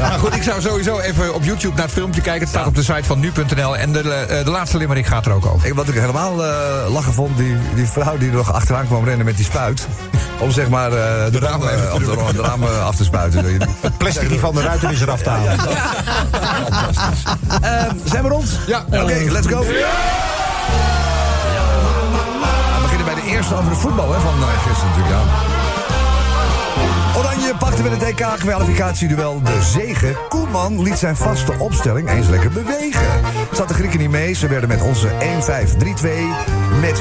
Maar goed, ik zou sowieso even op YouTube naar het filmpje kijken. Het staat op de site van nu.nl. En de, eh, de laatste limmering gaat er ook over.
Ik- wat ik helemaal eh lachen vond, die, die vrouw die er nog achteraan kwam rennen met die spuit. Om zeg maar eh, de,
ramen
ramen,
even
eh, om de, de ramen af te spuiten.
Het plastic die van de ruiten is eraf te halen.
Ehm, zijn we rond?
Ja.
Oké, let's go. We beginnen bij de eerste over de voetbal hè, van eh, gisteren natuurlijk. Ja. Oranje pakte met het EK-kwalificatieduel de zegen. Koeman liet zijn vaste opstelling eens lekker bewegen. Zat de Grieken niet mee, ze werden met onze 1-5-3-2... met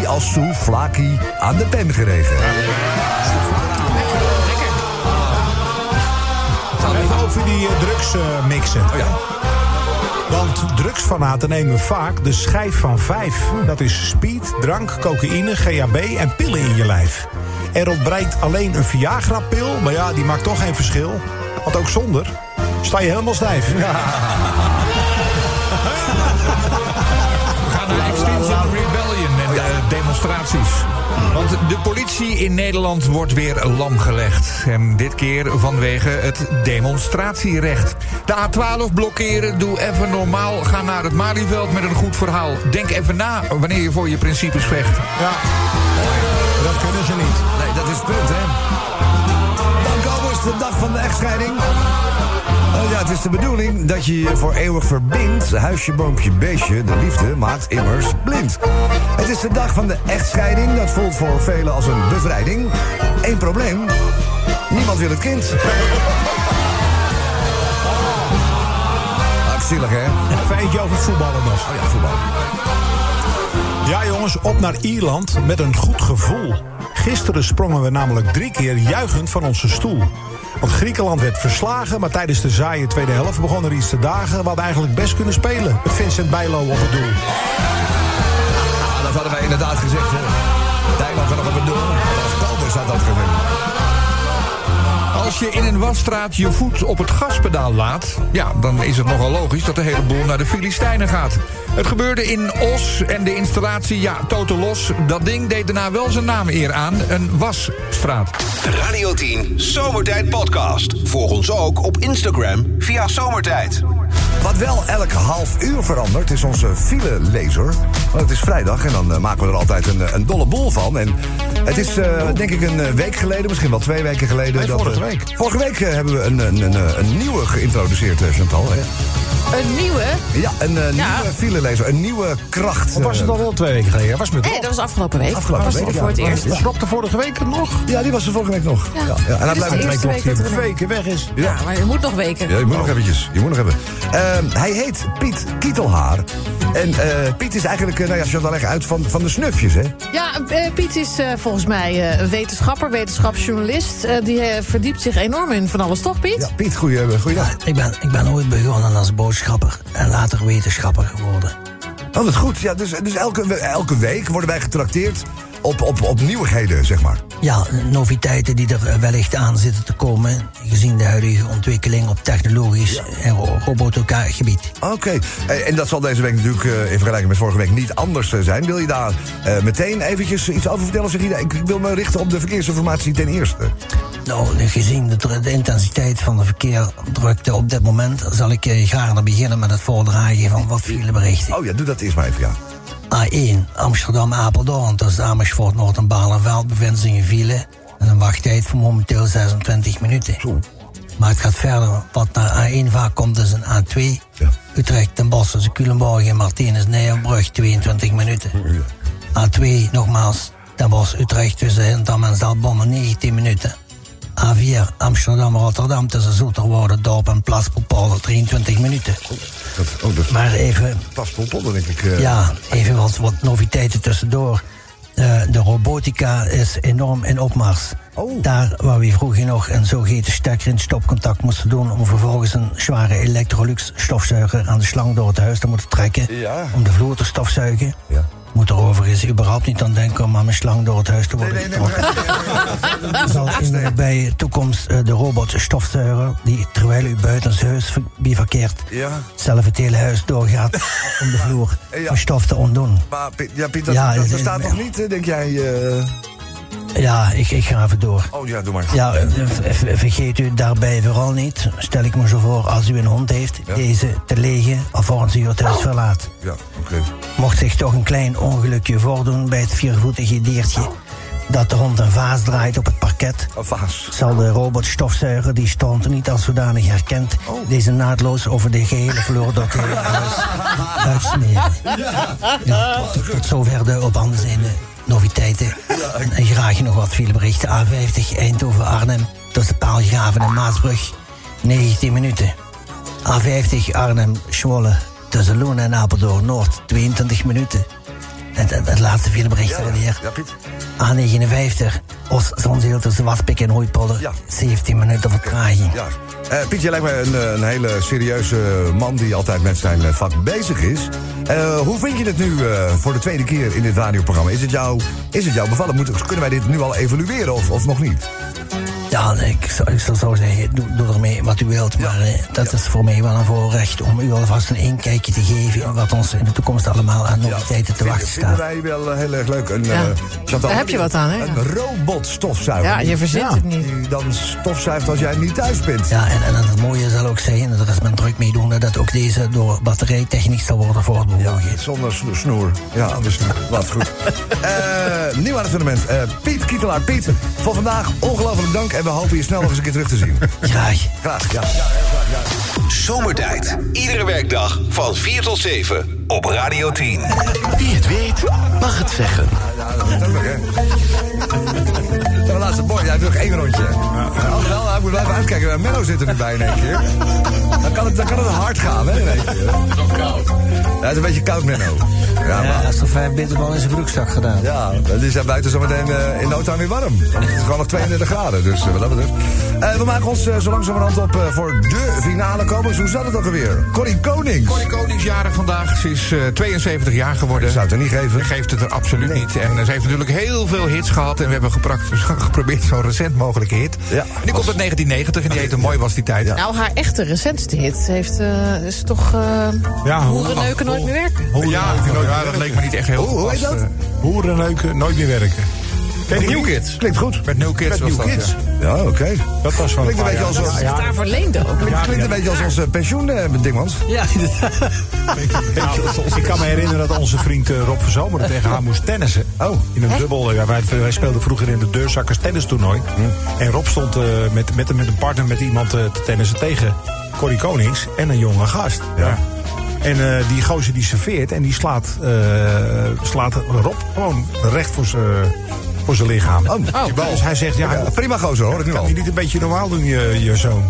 0-3 als Souflaki aan de pen geregen.
Even over die eh, drugs eh, mixen.
Oh ja,
Want drugsfanaten nemen vaak de schijf van vijf. Dat is speed, drank, cocaïne, GHB en pillen in je lijf. Er ontbreekt alleen een Viagra-pil, maar ja, die maakt toch geen verschil. Want ook zonder sta je helemaal stijf.
We gaan naar Extinction Rebellion en eh, demonstraties. Want de politie in Nederland wordt weer lam gelegd. En dit keer vanwege het demonstratierecht. De A12 blokkeren, doe even normaal. Ga naar het Malieveld met een goed verhaal. Denk even na wanneer je voor je principes vecht.
Ja, dat kunnen ze niet.
nee, dat is het punt, hè. Dan komen we de dag van de echtscheiding. Oh ja, het is de bedoeling dat je je voor eeuwig verbindt. Huisje, boompje, beestje, de liefde maakt immers blind. Het is de dag van de echtscheiding. Dat voelt voor velen als een bevrijding. Eén probleem. Niemand wil het kind. Ah, Axielig, hè?
Even eentje over het voetballen nog.
Oh ja, voetbal.
Ja, jongens, op naar Ierland met een goed gevoel. Gisteren sprongen we namelijk drie keer juichend van onze stoel. Want Griekenland werd verslagen, maar tijdens de zaaie tweede helft begon er iets te dagen. We hadden eigenlijk best kunnen spelen met Vincent Bijlo op het doel.
Ah, dat hadden wij inderdaad gezegd, hè. Dijland had nog op het doel. Kobus had dat gezegd.
Als je in een wasstraat je voet op het gaspedaal laat... ja, dan is het nogal logisch dat de hele boel naar de Filistijnen gaat. Het gebeurde in Os en de installatie, ja, totaal los. Dat ding deed daarna wel zijn naam eer aan, een wasstraat.
Radio 10 Zomertijd Podcast. Volg ons ook op Instagram via Zomertijd.
Wat wel elk half uur verandert, is onze file-laser. Want het is vrijdag en dan eh, maken we er altijd een, eh, een dolle bol van. En het is, eh, denk ik, een eh, week geleden, misschien wel twee weken geleden.
Nee, vorige
we-
week.
Vorige week eh, hebben we een, een, een, eh, een nieuwe geïntroduceerd, eh, Chantal. Hè?
Een nieuwe?
Ja, een eh, nieuwe file-laser, een nieuwe kracht.
Of was het
eh,
al wel twee weken geleden? Was het met
Nee, dat was afgelopen week.
Afgelopen
was
week,
het
ja,
voor het
dat was
eerst.
het.
Snapte vorige week het nog?
Ja, die was er vorige week nog. Ja. En hij
Dit is
blijft met
de
twee
eerste week
klokken.
dat er
Twee weken weg is.
Ja, maar je moet nog weken.
Ja, je
Oh.
moet nog eventjes. Je moet nog even. Ehm, hij heet Piet Kietelhaar. En eh, Piet is eigenlijk, eh, nou ja, Chantal, leg uit van, van de snufjes, hè?
Ja, eh, Piet is eh, volgens mij eh, een wetenschapper, wetenschapsjournalist. Eh, die eh, verdiept zich enorm in van alles, toch Piet?
Ja, Piet, goeie, eh, goeiedag.
Ik ben, ik ben ooit begonnen als boodschapper en later wetenschapper geworden.
Oh, wat goed. Ja, dus dus elke, we- elke week worden wij getrakteerd op, op, op nieuwigheden, zeg maar.
Ja, noviteiten die er eh, wellicht aan zitten te komen... gezien de huidige ontwikkeling op technologisch en ro- robotica gebied.
Oké. Eh, En dat zal deze week natuurlijk eh, in vergelijking met vorige week niet anders eh, zijn. Wil je daar eh, meteen eventjes iets over vertellen? Zeg je, nou, ik ik wil me richten op de verkeersinformatie ten eerste.
Nou, gezien de, dru- de intensiteit van de verkeerdrukte op dit moment... zal ik eh, gaarne beginnen met het voordragen van wat file berichten.
Oh ja, doe dat eerst maar even, ja.
A1 Amsterdam-Apeldoorn tussen Amersfoort, Noord en Balenveld bevindt zich een file en een wachttijd van momenteel 26 minuten. Maar het gaat verder. Wat naar A1 vaak komt is een A2. Utrecht, Den Bosch tussen Culemborg en Martinez Nijenbrug 22 minuten. A2 nogmaals Den Bosch, Utrecht tussen Hintam en Zaltbommel 19 minuten. A4 Amsterdam-Rotterdam tussen Zoeterwoude, Dorp en Plaspolpolder 23 minuten.
Dat, oh, dat
Maar even-
Plaspolpolder, denk ik. eh.
Ja, even wat, wat noviteiten tussendoor. Eh, de robotica is enorm in opmars.
Oh.
Daar waar we vroeger nog een zogeheten stekker in stopcontact moesten doen... om vervolgens een zware Electrolux stofzuiger aan de slang door het huis te moeten trekken...
Ja.
om de vloer te stofzuigen... moet er overigens überhaupt niet aan denken om aan mijn slang door het huis te worden getrokken. [laughs] Zal in de bij toekomst eh, de robot stofzuiger... die terwijl u buiten zijn huis bivakkeert...
Ja.
zelf het hele huis
[laughs]
doorgaat om de vloer van stof te ontdoen.
Maar Piet, ja, Piet dat,
Ja,
dat
eh,
bestaat
eh,
nog niet, eh, denk jij? eh?
Ja, ik, ik ga even door.
Oh ja, doe maar.
Ja, ver- ver- vergeet u daarbij vooral niet, stel ik me zo voor, als u een hond heeft, deze te legen alvorens u het huis verlaat.
Ja, oké.
Mocht zich toch een klein ongelukje voordoen bij het viervoetige diertje dat de hond een vaas draait op het parket,
Een vaas.
zal de robotstofzuiger die stond niet als zodanig herkend,
Oh.
deze naadloos over de gehele vloer door het
[laughs]
hele huis uitsmeren. Ja, tot, tot zover de op handen zijnde noviteiten. En graag nog wat viele berichten. A50 Eindhoven-Arnhem tussen Paalgraven en Maasbrug. 19 minuten. A50 Arnhem-Zwolle tussen Loenen en Apeldoorn-Noord. 22 minuten. En het, het laatste viele bericht alweer. A59 Os-Zonzeel tussen Waspik en Hooipolder. 17 minuten vertraging.
Ja. Eh, Piet, jij lijkt me een, eh, een hele serieuze man die altijd met zijn eh, vak bezig is. Eh, hoe vind je het nu eh, voor de tweede keer in dit radioprogramma? Is het jou, is het jou bevallen? Moeten kunnen wij dit nu al evalueren of, of nog niet?
Ja, nee, ik zou, ik zou zo zeggen, doe, doe ermee wat u wilt. Maar eh, dat is voor mij wel een voorrecht om u alvast een inkijkje te geven... in wat ons in de toekomst allemaal aan noviteiten te
Vinden-
wachten
vinden
staat.
wij wel eh, heel erg leuk. Een,
Ja.
eh, Chantal,
Daar heb je wat aan, hè?
Een robotstofzuiger.
Ja, je verzint het niet.
Die dan stofzuigt als jij niet thuis bent.
Ja, en, en het mooie zal ook zijn, en daar is men druk mee doen... dat ook deze door batterijtechniek zal worden voortbewogen.
Zonder sno- snoer. Ja, anders niet. [laughs] Wat goed. Eh, nieuw aan het fundament. Eh, Piet Kietelaar. Piet, voor vandaag ongelooflijk dank. En we hopen je snel nog eens een keer terug te zien.
Graag.
Graag, ja. ja, heel graag, ja.
Zomertijd. Iedere werkdag van 4 tot 7 op Radio 10.
Wie het weet, mag het zeggen.
De laatste boy, jij doet nog één rondje. Oh, wel, nou, ik moet blijven uitkijken. Menno zit er nu bij in één keer. Dan kan het, dan kan het hard gaan, hè, in één keer. koud. Ja, het is een beetje koud, Menno. Ja,
Ja, hij
maar...
heeft er vijf bitterbal in zijn broekzak gedaan.
Ja, het is daar buiten zometeen eh in no time weer warm. Want Het is gewoon nog 32 graden, dus eh, wat dat betreft. Eh, we maken ons eh, zo langzamerhand op eh, voor de finale komers. Hoe zat het ook alweer? Corrie Konings.
Corrie Konings jarig vandaag. Ze is eh, 72 jaar geworden.
zou het er niet geven.
Ze geeft het er absoluut niet. En eh, ze heeft natuurlijk heel veel hits gehad. En we hebben geprak-
[laughs]
geprobeerd zo'n recent mogelijke hit.
Ja.
Die komt uit 1990 en die heette Mooi was die tijd.
Nou, haar echte recentste hit heeft, eh, is toch... eh
Ja,
hoeren neuken
oh.
nooit meer werken.
ja, ja, dat leek me niet echt heel
Hoe- hoe heet
gepast,
dat?
eh.
Hoerenneuken, nooit meer werken. Ken je die?
New Kids.
Klinkt goed.
Met New Kids
Met
was
New
dat,
Kids.
ja.
Ja, oké.
Dat was van
Klinkt een beetje als
Dat ze
ons,
zich daarvoor leende ook.
klinkt, klinkt een beetje als ons eh, pensioen, eh, Dingmans.
Ja,
Ik kan me herinneren dat onze vriend eh, Rob van Zomeren tegen haar moest tennissen.
Oh.
In een dubbel. eh, Ja, wij, wij speelden vroeger in de deurzakkers tennistoernooi. En Rob stond eh, met, met, met een partner met iemand eh, te tennissen tegen Corrie Konings en een jonge gast. Ja. En eh, die gozer die serveert en die slaat, eh, slaat Rob gewoon recht voor zijn voor zijn lichaam.
Oh.
Die bal. Dus hij zegt, ja,
Ja, prima gozer, hoor ik nu
kan
al.
je niet een beetje normaal doen, je, je zoon?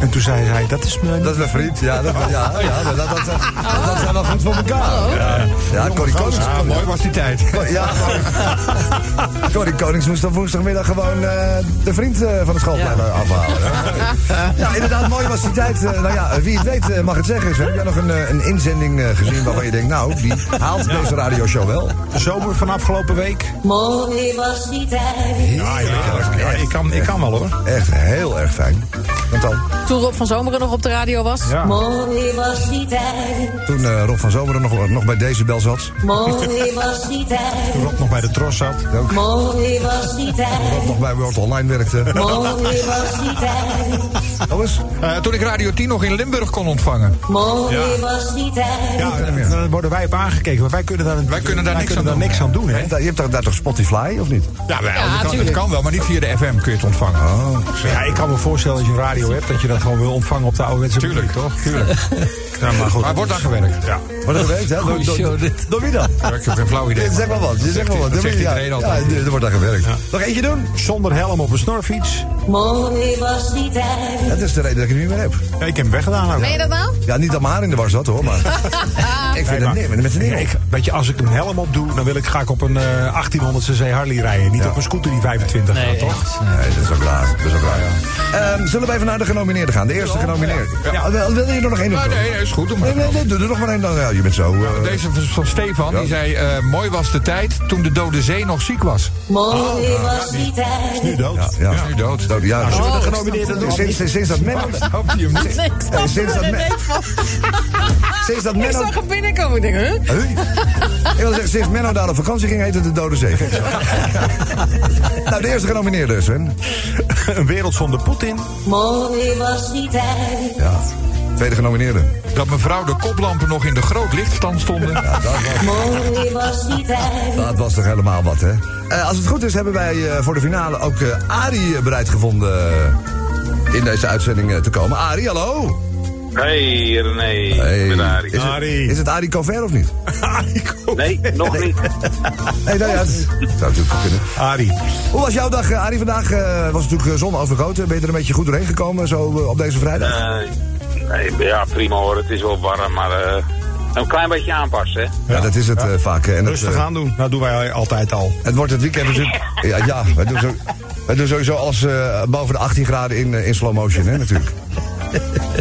En toen zei hij, dat is mijn...
Dat is mijn vriend, ja. Dat, ja, ja, dat, dat, dat, dat zijn wel goed voor elkaar. Ja, Oh. ja Corrie Konings.
Ah, mooi was die tijd.
[laughs] Ja, Corrie Konings moest dan woensdagmiddag gewoon eh, de vriend eh, van de schoolplein afhalen. hè? Ja, inderdaad, mooi was die tijd. Eh, nou ja, wie het weet eh, mag het zeggen. Heb jij nog een, eh, een inzending eh, gezien waarvan je denkt, nou, die haalt deze radioshow wel?
De zomer van afgelopen week.
Mooi was die tijd.
Ja, ja, ja, ik, kan, ik kan wel hoor.
Echt heel erg fijn. Dan dan.
Toen Rob van Zomeren nog op de radio was.
Ja.
Mooi was die tijd.
Toen eh, Rob van Zomeren nog, nog bij Decibel zat.
Mooi was die tijd.
Rob nog bij de Tros zat. Ook.
Mooi was die tijd.
Rob nog bij World Online werkte.
Mooi was die tijd.
Alles?
eh, toen ik Radio 10 nog in Limburg kon ontvangen.
Mooi was die tijd.
Ja, en dan worden wij op aangekeken. Maar wij kunnen daar, wij
kunnen daar niks aan
daar
doen.
niks aan doen. Hè?
Je hebt daar- je hebt daar, daar toch Spotify, of niet?
Ja, wel,
Ja,
het, kan, het
tuurlijk.
kan wel, maar niet via de FM kun je het ontvangen.
Oh, Ja, ik kan me voorstellen als je een radio hebt dat je dat gewoon wil ontvangen op de ouderwetse Tuurlijk, toch? Tuurlijk. [laughs] Ja, maar goed.
Maar wordt aan gewerkt. Ja.
Wordt er gewerkt, hè? Door,
Goeie
door,
show,
door, door wie dan?
Ja, ik heb geen flauw idee.
Zeg maar wat, je zegt maar wat.
Dat zegt
Ja,
iedereen altijd.
Ja, er wordt daar gewerkt. Nog eentje doen?
Zonder helm op een snorfiets.
Mooi was die tijd.
Dat is de reden dat ik het niet meer heb.
Ja, ik heb hem weggedaan ook.
Meen je dat nou?
Ja, niet dat mijn haar in de war zat,
[laughs]
hoor, maar... ik vind het
maar-
nee, maar met z'n
Ja,
dingen.
ik, weet je, als ik een helm op doe, dan wil ik, ga ik op een eh, 1800cc Harley rijden. Niet op een scooter die 25 gaat, toch?
Nee, dat is ook raar. Dat is ook raar. Ehm, zullen we even naar de genomineerden gaan? De eerste genomineerde. Ja. wil- Wil je er nog één op
Nou,
doen?
nee, nee, is goed. Doe maar.
Nee, nee, doe er nog maar één dan. Ja, je bent zo... eh,
Deze is van Stefan, die zei... eh, mooi was de tijd toen de Dode Zee nog ziek was. Ah,
Mooi
Ah,
was die tijd.
Nu dood.
Ja, ja.
Nu dood.
Dood, Ah. ja.
Zullen we de
Oh,
genomineerden doen?
Sinds, sinds, sinds dat Menno,
Hoopt hij hem niet.
Ik
Eh,
snap
sinds
er
dat
een
me-
reet van.
sinds dat
Ik
Menno,
zag hem binnenkomen. Ik denk, huh?
Huh? Ik wil zeggen, sinds Menno daar op vakantie ging, heette het de Dode
[laughs]
Zee. Gek zo. nou, de eerste genomineerde, Sven.
Een wereld zonder Poetin.
Mooi was die tijd.
Ja. Tweede genomineerde.
Dat mevrouw de koplampen nog in de groot lichtstand stonden.
Mooi was die tijd.
Dat was toch helemaal wat, hè? Eh, als het goed is, hebben wij eh, voor de finale ook eh Arie eh, bereid gevonden eh, in deze uitzending eh, te komen. Arie, hallo!
Hey René,
Hey.
ik ben Arie.
Is, het,
Arie.
is het Arie Cover of niet? [laughs]
Nee, nog niet.
Nee, nou ja, het zou natuurlijk kunnen.
Arie.
Hoe was jouw dag, eh, Arie? Vandaag eh, was natuurlijk eh, zon overgoten. Ben je er een beetje goed doorheen gekomen zo eh, op deze vrijdag?
Eh, nee, ja, prima hoor. Het is wel warm, maar eh, een klein beetje aanpassen. hè.
ja, dat is het eh, vaak. eh, En dat,
Rustig
eh,
aandoen. Dat doen wij altijd al.
Het wordt het weekend natuurlijk... Ja, ja wij, doen zo, wij doen sowieso alles eh, boven de 18 graden in, eh, in slow motion, hè, [laughs] natuurlijk.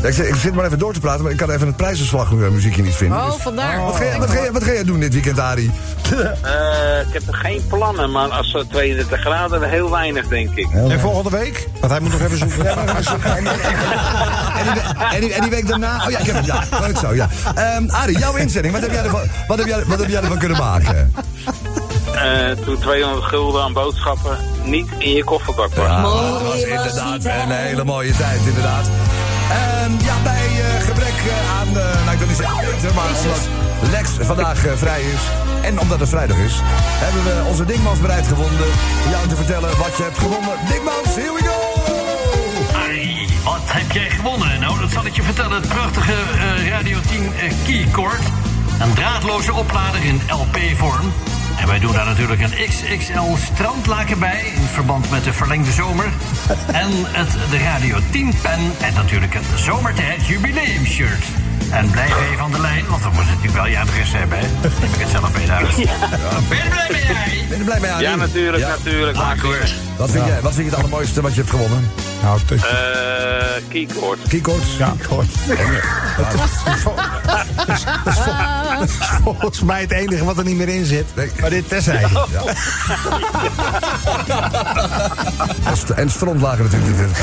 Ja, ik, zit- ik zit maar even door te praten, maar ik kan even het prijzenslagmuziekje niet vinden.
Oh,
dus-
vandaar.
Wat, ga je, wat, ga je, wat ga jij doen dit weekend, Arie?
[laughs] Eh, ik heb er geen plannen, maar als het 32 graden, heel weinig denk ik. Eh,
En volgende week? Want hij moet nog even zoeken.
Ah, En die, we- en, die, en die week daarna? Oh ja, ik heb het. Ja, leuk zo, ja. Ehm, Arie, jouw inzending, wat heb jij ervan, wat heb jij, wat heb jij ervan kunnen maken?
Eh, toen 200 gulden aan boodschappen niet in je kofferbak was.
Ah, dat was inderdaad een hele mooie tijd, inderdaad. Ehm, ja, bij eh, gebrek eh, aan, eh, nou ik wil niet zeggen eten, maar omdat Lex vandaag eh, vrij is en omdat het vrijdag is, hebben we onze Dingmans bereid gevonden om jou te vertellen wat je hebt gewonnen. Dingmans, here we go!
Ai, wat heb jij gewonnen? Nou, dat zal ik je vertellen. Het prachtige eh, Radio 10 eh, Keycord. Een draadloze oplader in LP-vorm. En wij doen daar natuurlijk een XXL strandlaken bij... in verband met de verlengde zomer. En het, de Radio 10-pen en natuurlijk het Zomertijd Jubileum-shirt. En blijf even aan de lijn, want we moeten natuurlijk wel je adres hebben. hè? Dan neem ik het zelf mee naar huis. Ben je er blij mee, jij?
Ben je er blij mee, Arie?
Ja, natuurlijk, natuurlijk.
Akkoord.
Wat vind, jij, wat vind je het allermooiste wat je hebt gewonnen?
Nou, t-
Eh keycord.
Keycords?
ja, hoor. [laughs] Het is vol- het is- het is vol-
[laughs]
het is Volgens mij het enige wat er niet meer in zit.
Nee.
Maar dit terzijde.
[laughs]
[laughs]
En, st en strandlagen natuurlijk.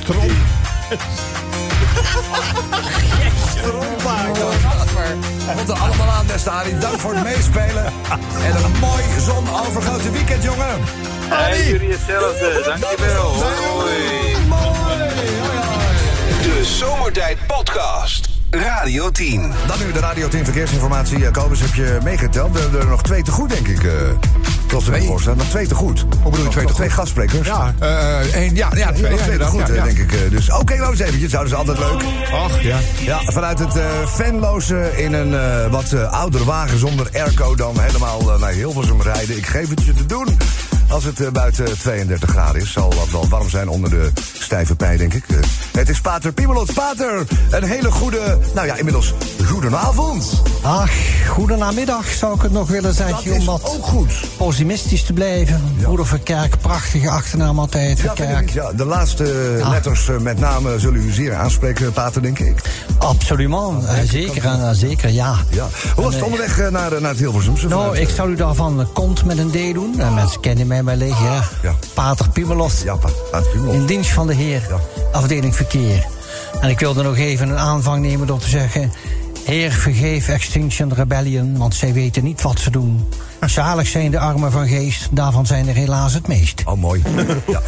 Stront. Strontlaken.
Wat er allemaal aan, beste Arie. Dank voor het meespelen. En een mooi zonovergoten weekend, jongen.
Hey, jullie hetzelfde. Dankjewel. Hoi.
De Zomertijd Podcast. Radio 10.
Dan nu de Radio 10 Verkeersinformatie. Eh, Kobus, heb je meegeteld? We hebben er nog twee te goed, denk ik. eh Tot de voor staan. Nog twee te goed. Hoe bedoel je twee te goed? Twee gastsprekers.
Ja,
Eh, één- ja, ja, twee.
Nog
ja,
twee te
inderdaad,
goed,
ja,
eh,
ja.
denk ik. eh, Dus oké, nou eens eventjes. Nou, dat is altijd leuk.
Ach, ja.
Ja, vanuit het eh fanloze in een eh, wat eh oudere wagen zonder airco dan helemaal eh, naar Hilversum rijden. Ik geef het je te doen. Als het eh, buiten 32 graden is, zal dat wel warm zijn onder de stijve pij, denk ik. Eh, het is Pater Piemelot Pater. Een hele goede, nou ja, inmiddels goedenavond.
Ach, goedenamiddag zou ik het nog willen
Dat
zeggen.
is
Om wat
ook goed.
pessimistisch te blijven. Broeder Verkerk, prachtige achternaam altijd.
Ja, vind ik,
Verkerk.
ja, de laatste
Ah.
letters eh, met name zullen u zeer aanspreken, Pater, denk ik.
Absoluut, eh, zeker, eh, zeker, ja.
Ja. Hoe was het onderweg eh, naar, eh, naar het Hilversumse?
Nou,
Vanuit,
ik
eh,
zou u daarvan eh, kont met een D doen. Eh, mensen kennen mij bij mij leeg, ja. Pater Piemeloft.
Ja, Pater Piemeloft.
In dienst van de heer, afdeling verkeer. En ik wilde nog even een aanvang nemen door te zeggen... Heer, vergeef Extinction Rebellion, want zij weten niet wat ze
[laughs]
doen. Zalig zijn de armen van geest, daarvan zijn er helaas het meest.
Oh, [laughs] mooi. Ja,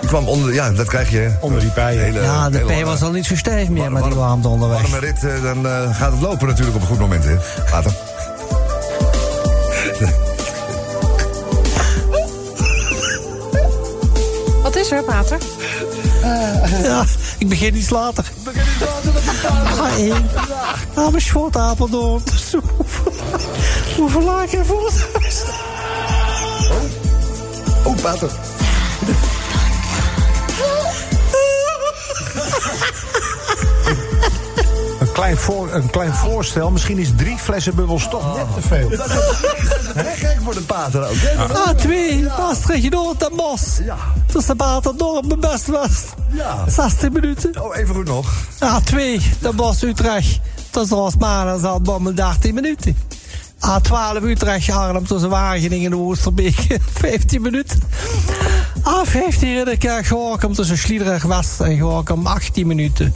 Die kwam onder, ja, dat krijg je. Onder die pij.
ja, de P was al niet zo stijf meer met die warmte onderweg.
Warme rit, eh, dan eh, gaat het lopen natuurlijk op een goed moment, hè. Later.
Wat is er, Pater?
[laughs] Ja, ik begin iets later. Ik begin iets later dan Ah, mijn Dus schot [laughs] Apeldoorn. Zo, Hoeveel laag en voor het huis?
Oh, Pater.
Een klein, voor, een klein voorstel, misschien is drie flessen bubbels toch net te veel.
Gek voor de pater ook, hè?
Ah, twee. Maastricht, Noord en Mos. Ja. Tussen Baten, Noord en Best West.
Ja.
16 minuten.
Oh, even goed nog.
A2, Den Bosch, Utrecht. Tussen Rosmalen en Zandbommel, 18 minuten. A12, Utrecht, Arnhem, tussen Wageningen en Oosterbeek, [laughs] 15 minuten. Ah, A15, Ridderkerk, Gorkum, tussen Sliedrecht, West en Gorkum, 18 minuten.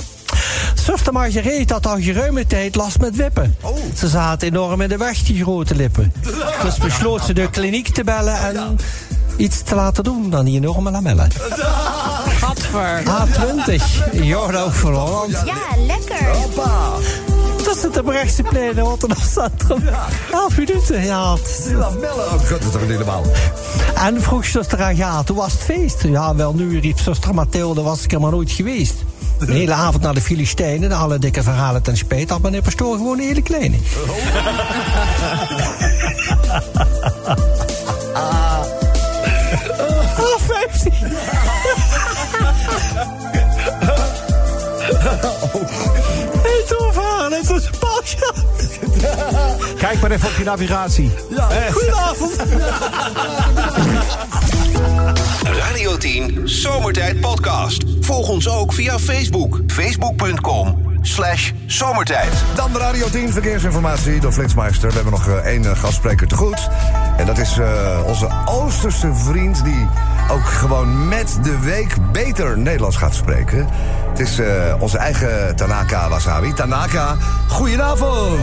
Zuster Margarethe had al geruime tijd last met wippen. Ze zaten enorm in de weg, die grote lippen. Dus besloot ze de kliniek te bellen en iets te laten doen dan die enorme lamellen.
Gadver.
A20, Jorno van Holland.
Ja, lekker.
Tussen de Brechtse plein en Rotterdam Centrum. 11 minuten, ja. het is-
Die [laughs] lamellen, oh, god, dat is toch niet normaal.
En vroeg zuster aan, ja, toen was het feest. Ja, wel nu, riep zuster Mathilde, was ik er maar nooit geweest. De hele avond naar de Filistijnen, alle dikke verhalen ten spijt, had meneer Pastoor gewoon een hele kleine. Ah, 15. Heet overhaan, het is een pasje.
Kijk maar even op je navigatie.
Goedenavond.
[laughs] Radio 10 Zomertijd Podcast. Volg ons ook via Facebook. Facebook.com slash zomertijd.
Dan de Radio 10 verkeersinformatie door Flitsmeister. We hebben nog eh, één eh, gastspreker te goed. En dat is eh, onze Oosterse vriend die ook gewoon met de week beter Nederlands gaat spreken. Het is eh, onze eigen Tanaka Wasabi. Tanaka, goedenavond!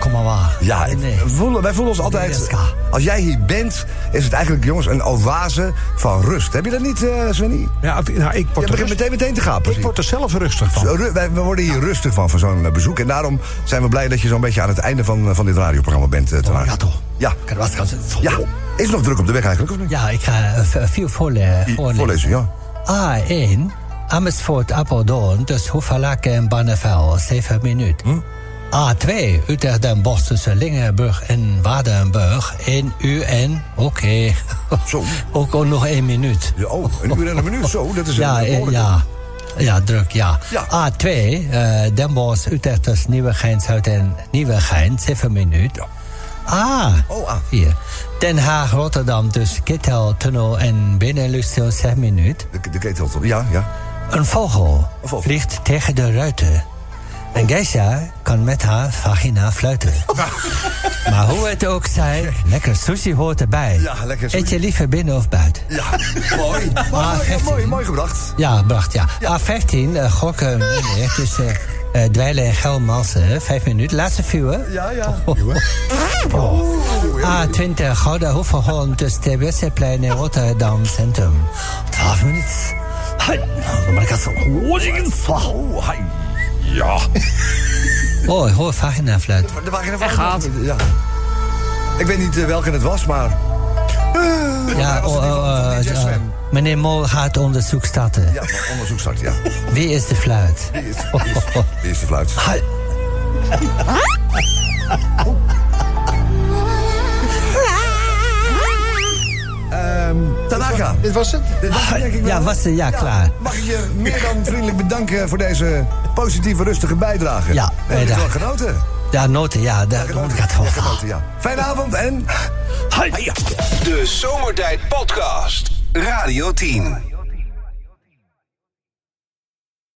Kom maar waar.
Ja, ik- we voelen, wij voelen ons altijd... Als jij hier bent, is het eigenlijk, jongens, een oase van rust. Heb je dat niet, eh Svenny?
Ja, het- nou, ik
Je
word er
begint meteen meteen te gapen.
Ik word er zelf rustig van.
Zo, ru- Wij, we worden hier rustig van, van zo'n eh, bezoek. En daarom zijn we blij dat je zo'n beetje aan het einde van, eh, van dit radioprogramma bent. eh, te laat. Ja. ja. Is het nog druk op de weg eigenlijk, of niet?
Ja, ik ga eh, v- veel voorle voorlezen.
Voorlezen, ja.
A1, Ah, Amersfoort, Apeldoorn tussen Hoevelaken en Barneveld, 7
Hm?
minuten. A2, Utrecht Den Bosch tussen Lingenburg en Waardenburg, 1 uur en... Oké. [laughs] Ook al nog 1 minuut.
Ja, oh, een uur en een minuut, zo, dat is een
ja, eh,
behoorlijke.
ja. ja, druk, ja.
Ja.
A2, eh Den Bosch, Utrecht tussen Nieuwegein, Zuid en Nieuwegein, 7 minuten. Ah,
Oh, ah.
4. Den Haag, Rotterdam tussen Kittel, Tunnel en Benelux, 6 minuten.
De, de ketelton, ja, ja.
Een vogel, vliegt tegen de ruiten. En Geisha kan met haar
[laughs]
vagina fluiten. maar hoe het ook zij, lekker sushi hoort erbij.
Ja, lekker sushi.
Eet je liever binnen of buiten?
Ja, [laughs] mooi.
Maar
mooi,
15.
mooi, mooi gebracht.
Ja, bracht, ja. A15, eh, gokken meneer, tussen eh Dweilen en Gelmalsen. Vijf minuten, laatste Oh. viewer.
Ja, ja.
[laughs] Oh. A20, Gouda Hoeverholm tussen Terbesserplein en Rotterdam Centrum. Twaalf minuten. Hai, maar ik had zo...
Oh, hi.
Ja.
[laughs] Oh, ik hoor vagina fluiten.
De wagen van gaat. Ja. Ik weet niet eh, welke het was, maar...
Ja,
was het die van- van die
oh, eh,
jazz
eh,
fam?
meneer Mol gaat onderzoek starten.
Ja, onderzoek start, ja.
Wie is de fluit?
Die is, die is, die is de fluit.
Hai.
Ah.
Ehm, Tanaka. Dit was het? Dit was het, denk ik wel.
Ja, was ze, ja, klaar.
Mag ik je meer dan vriendelijk bedanken voor deze positieve, rustige bijdrage?
Ja,
We hebben
bijdrage.
wel genoten.
Ja, noten, ja, daar gaat
Ja,
wel.
genoten, ja. Fijne avond en...
De Zomertijd Podcast. Radio 10.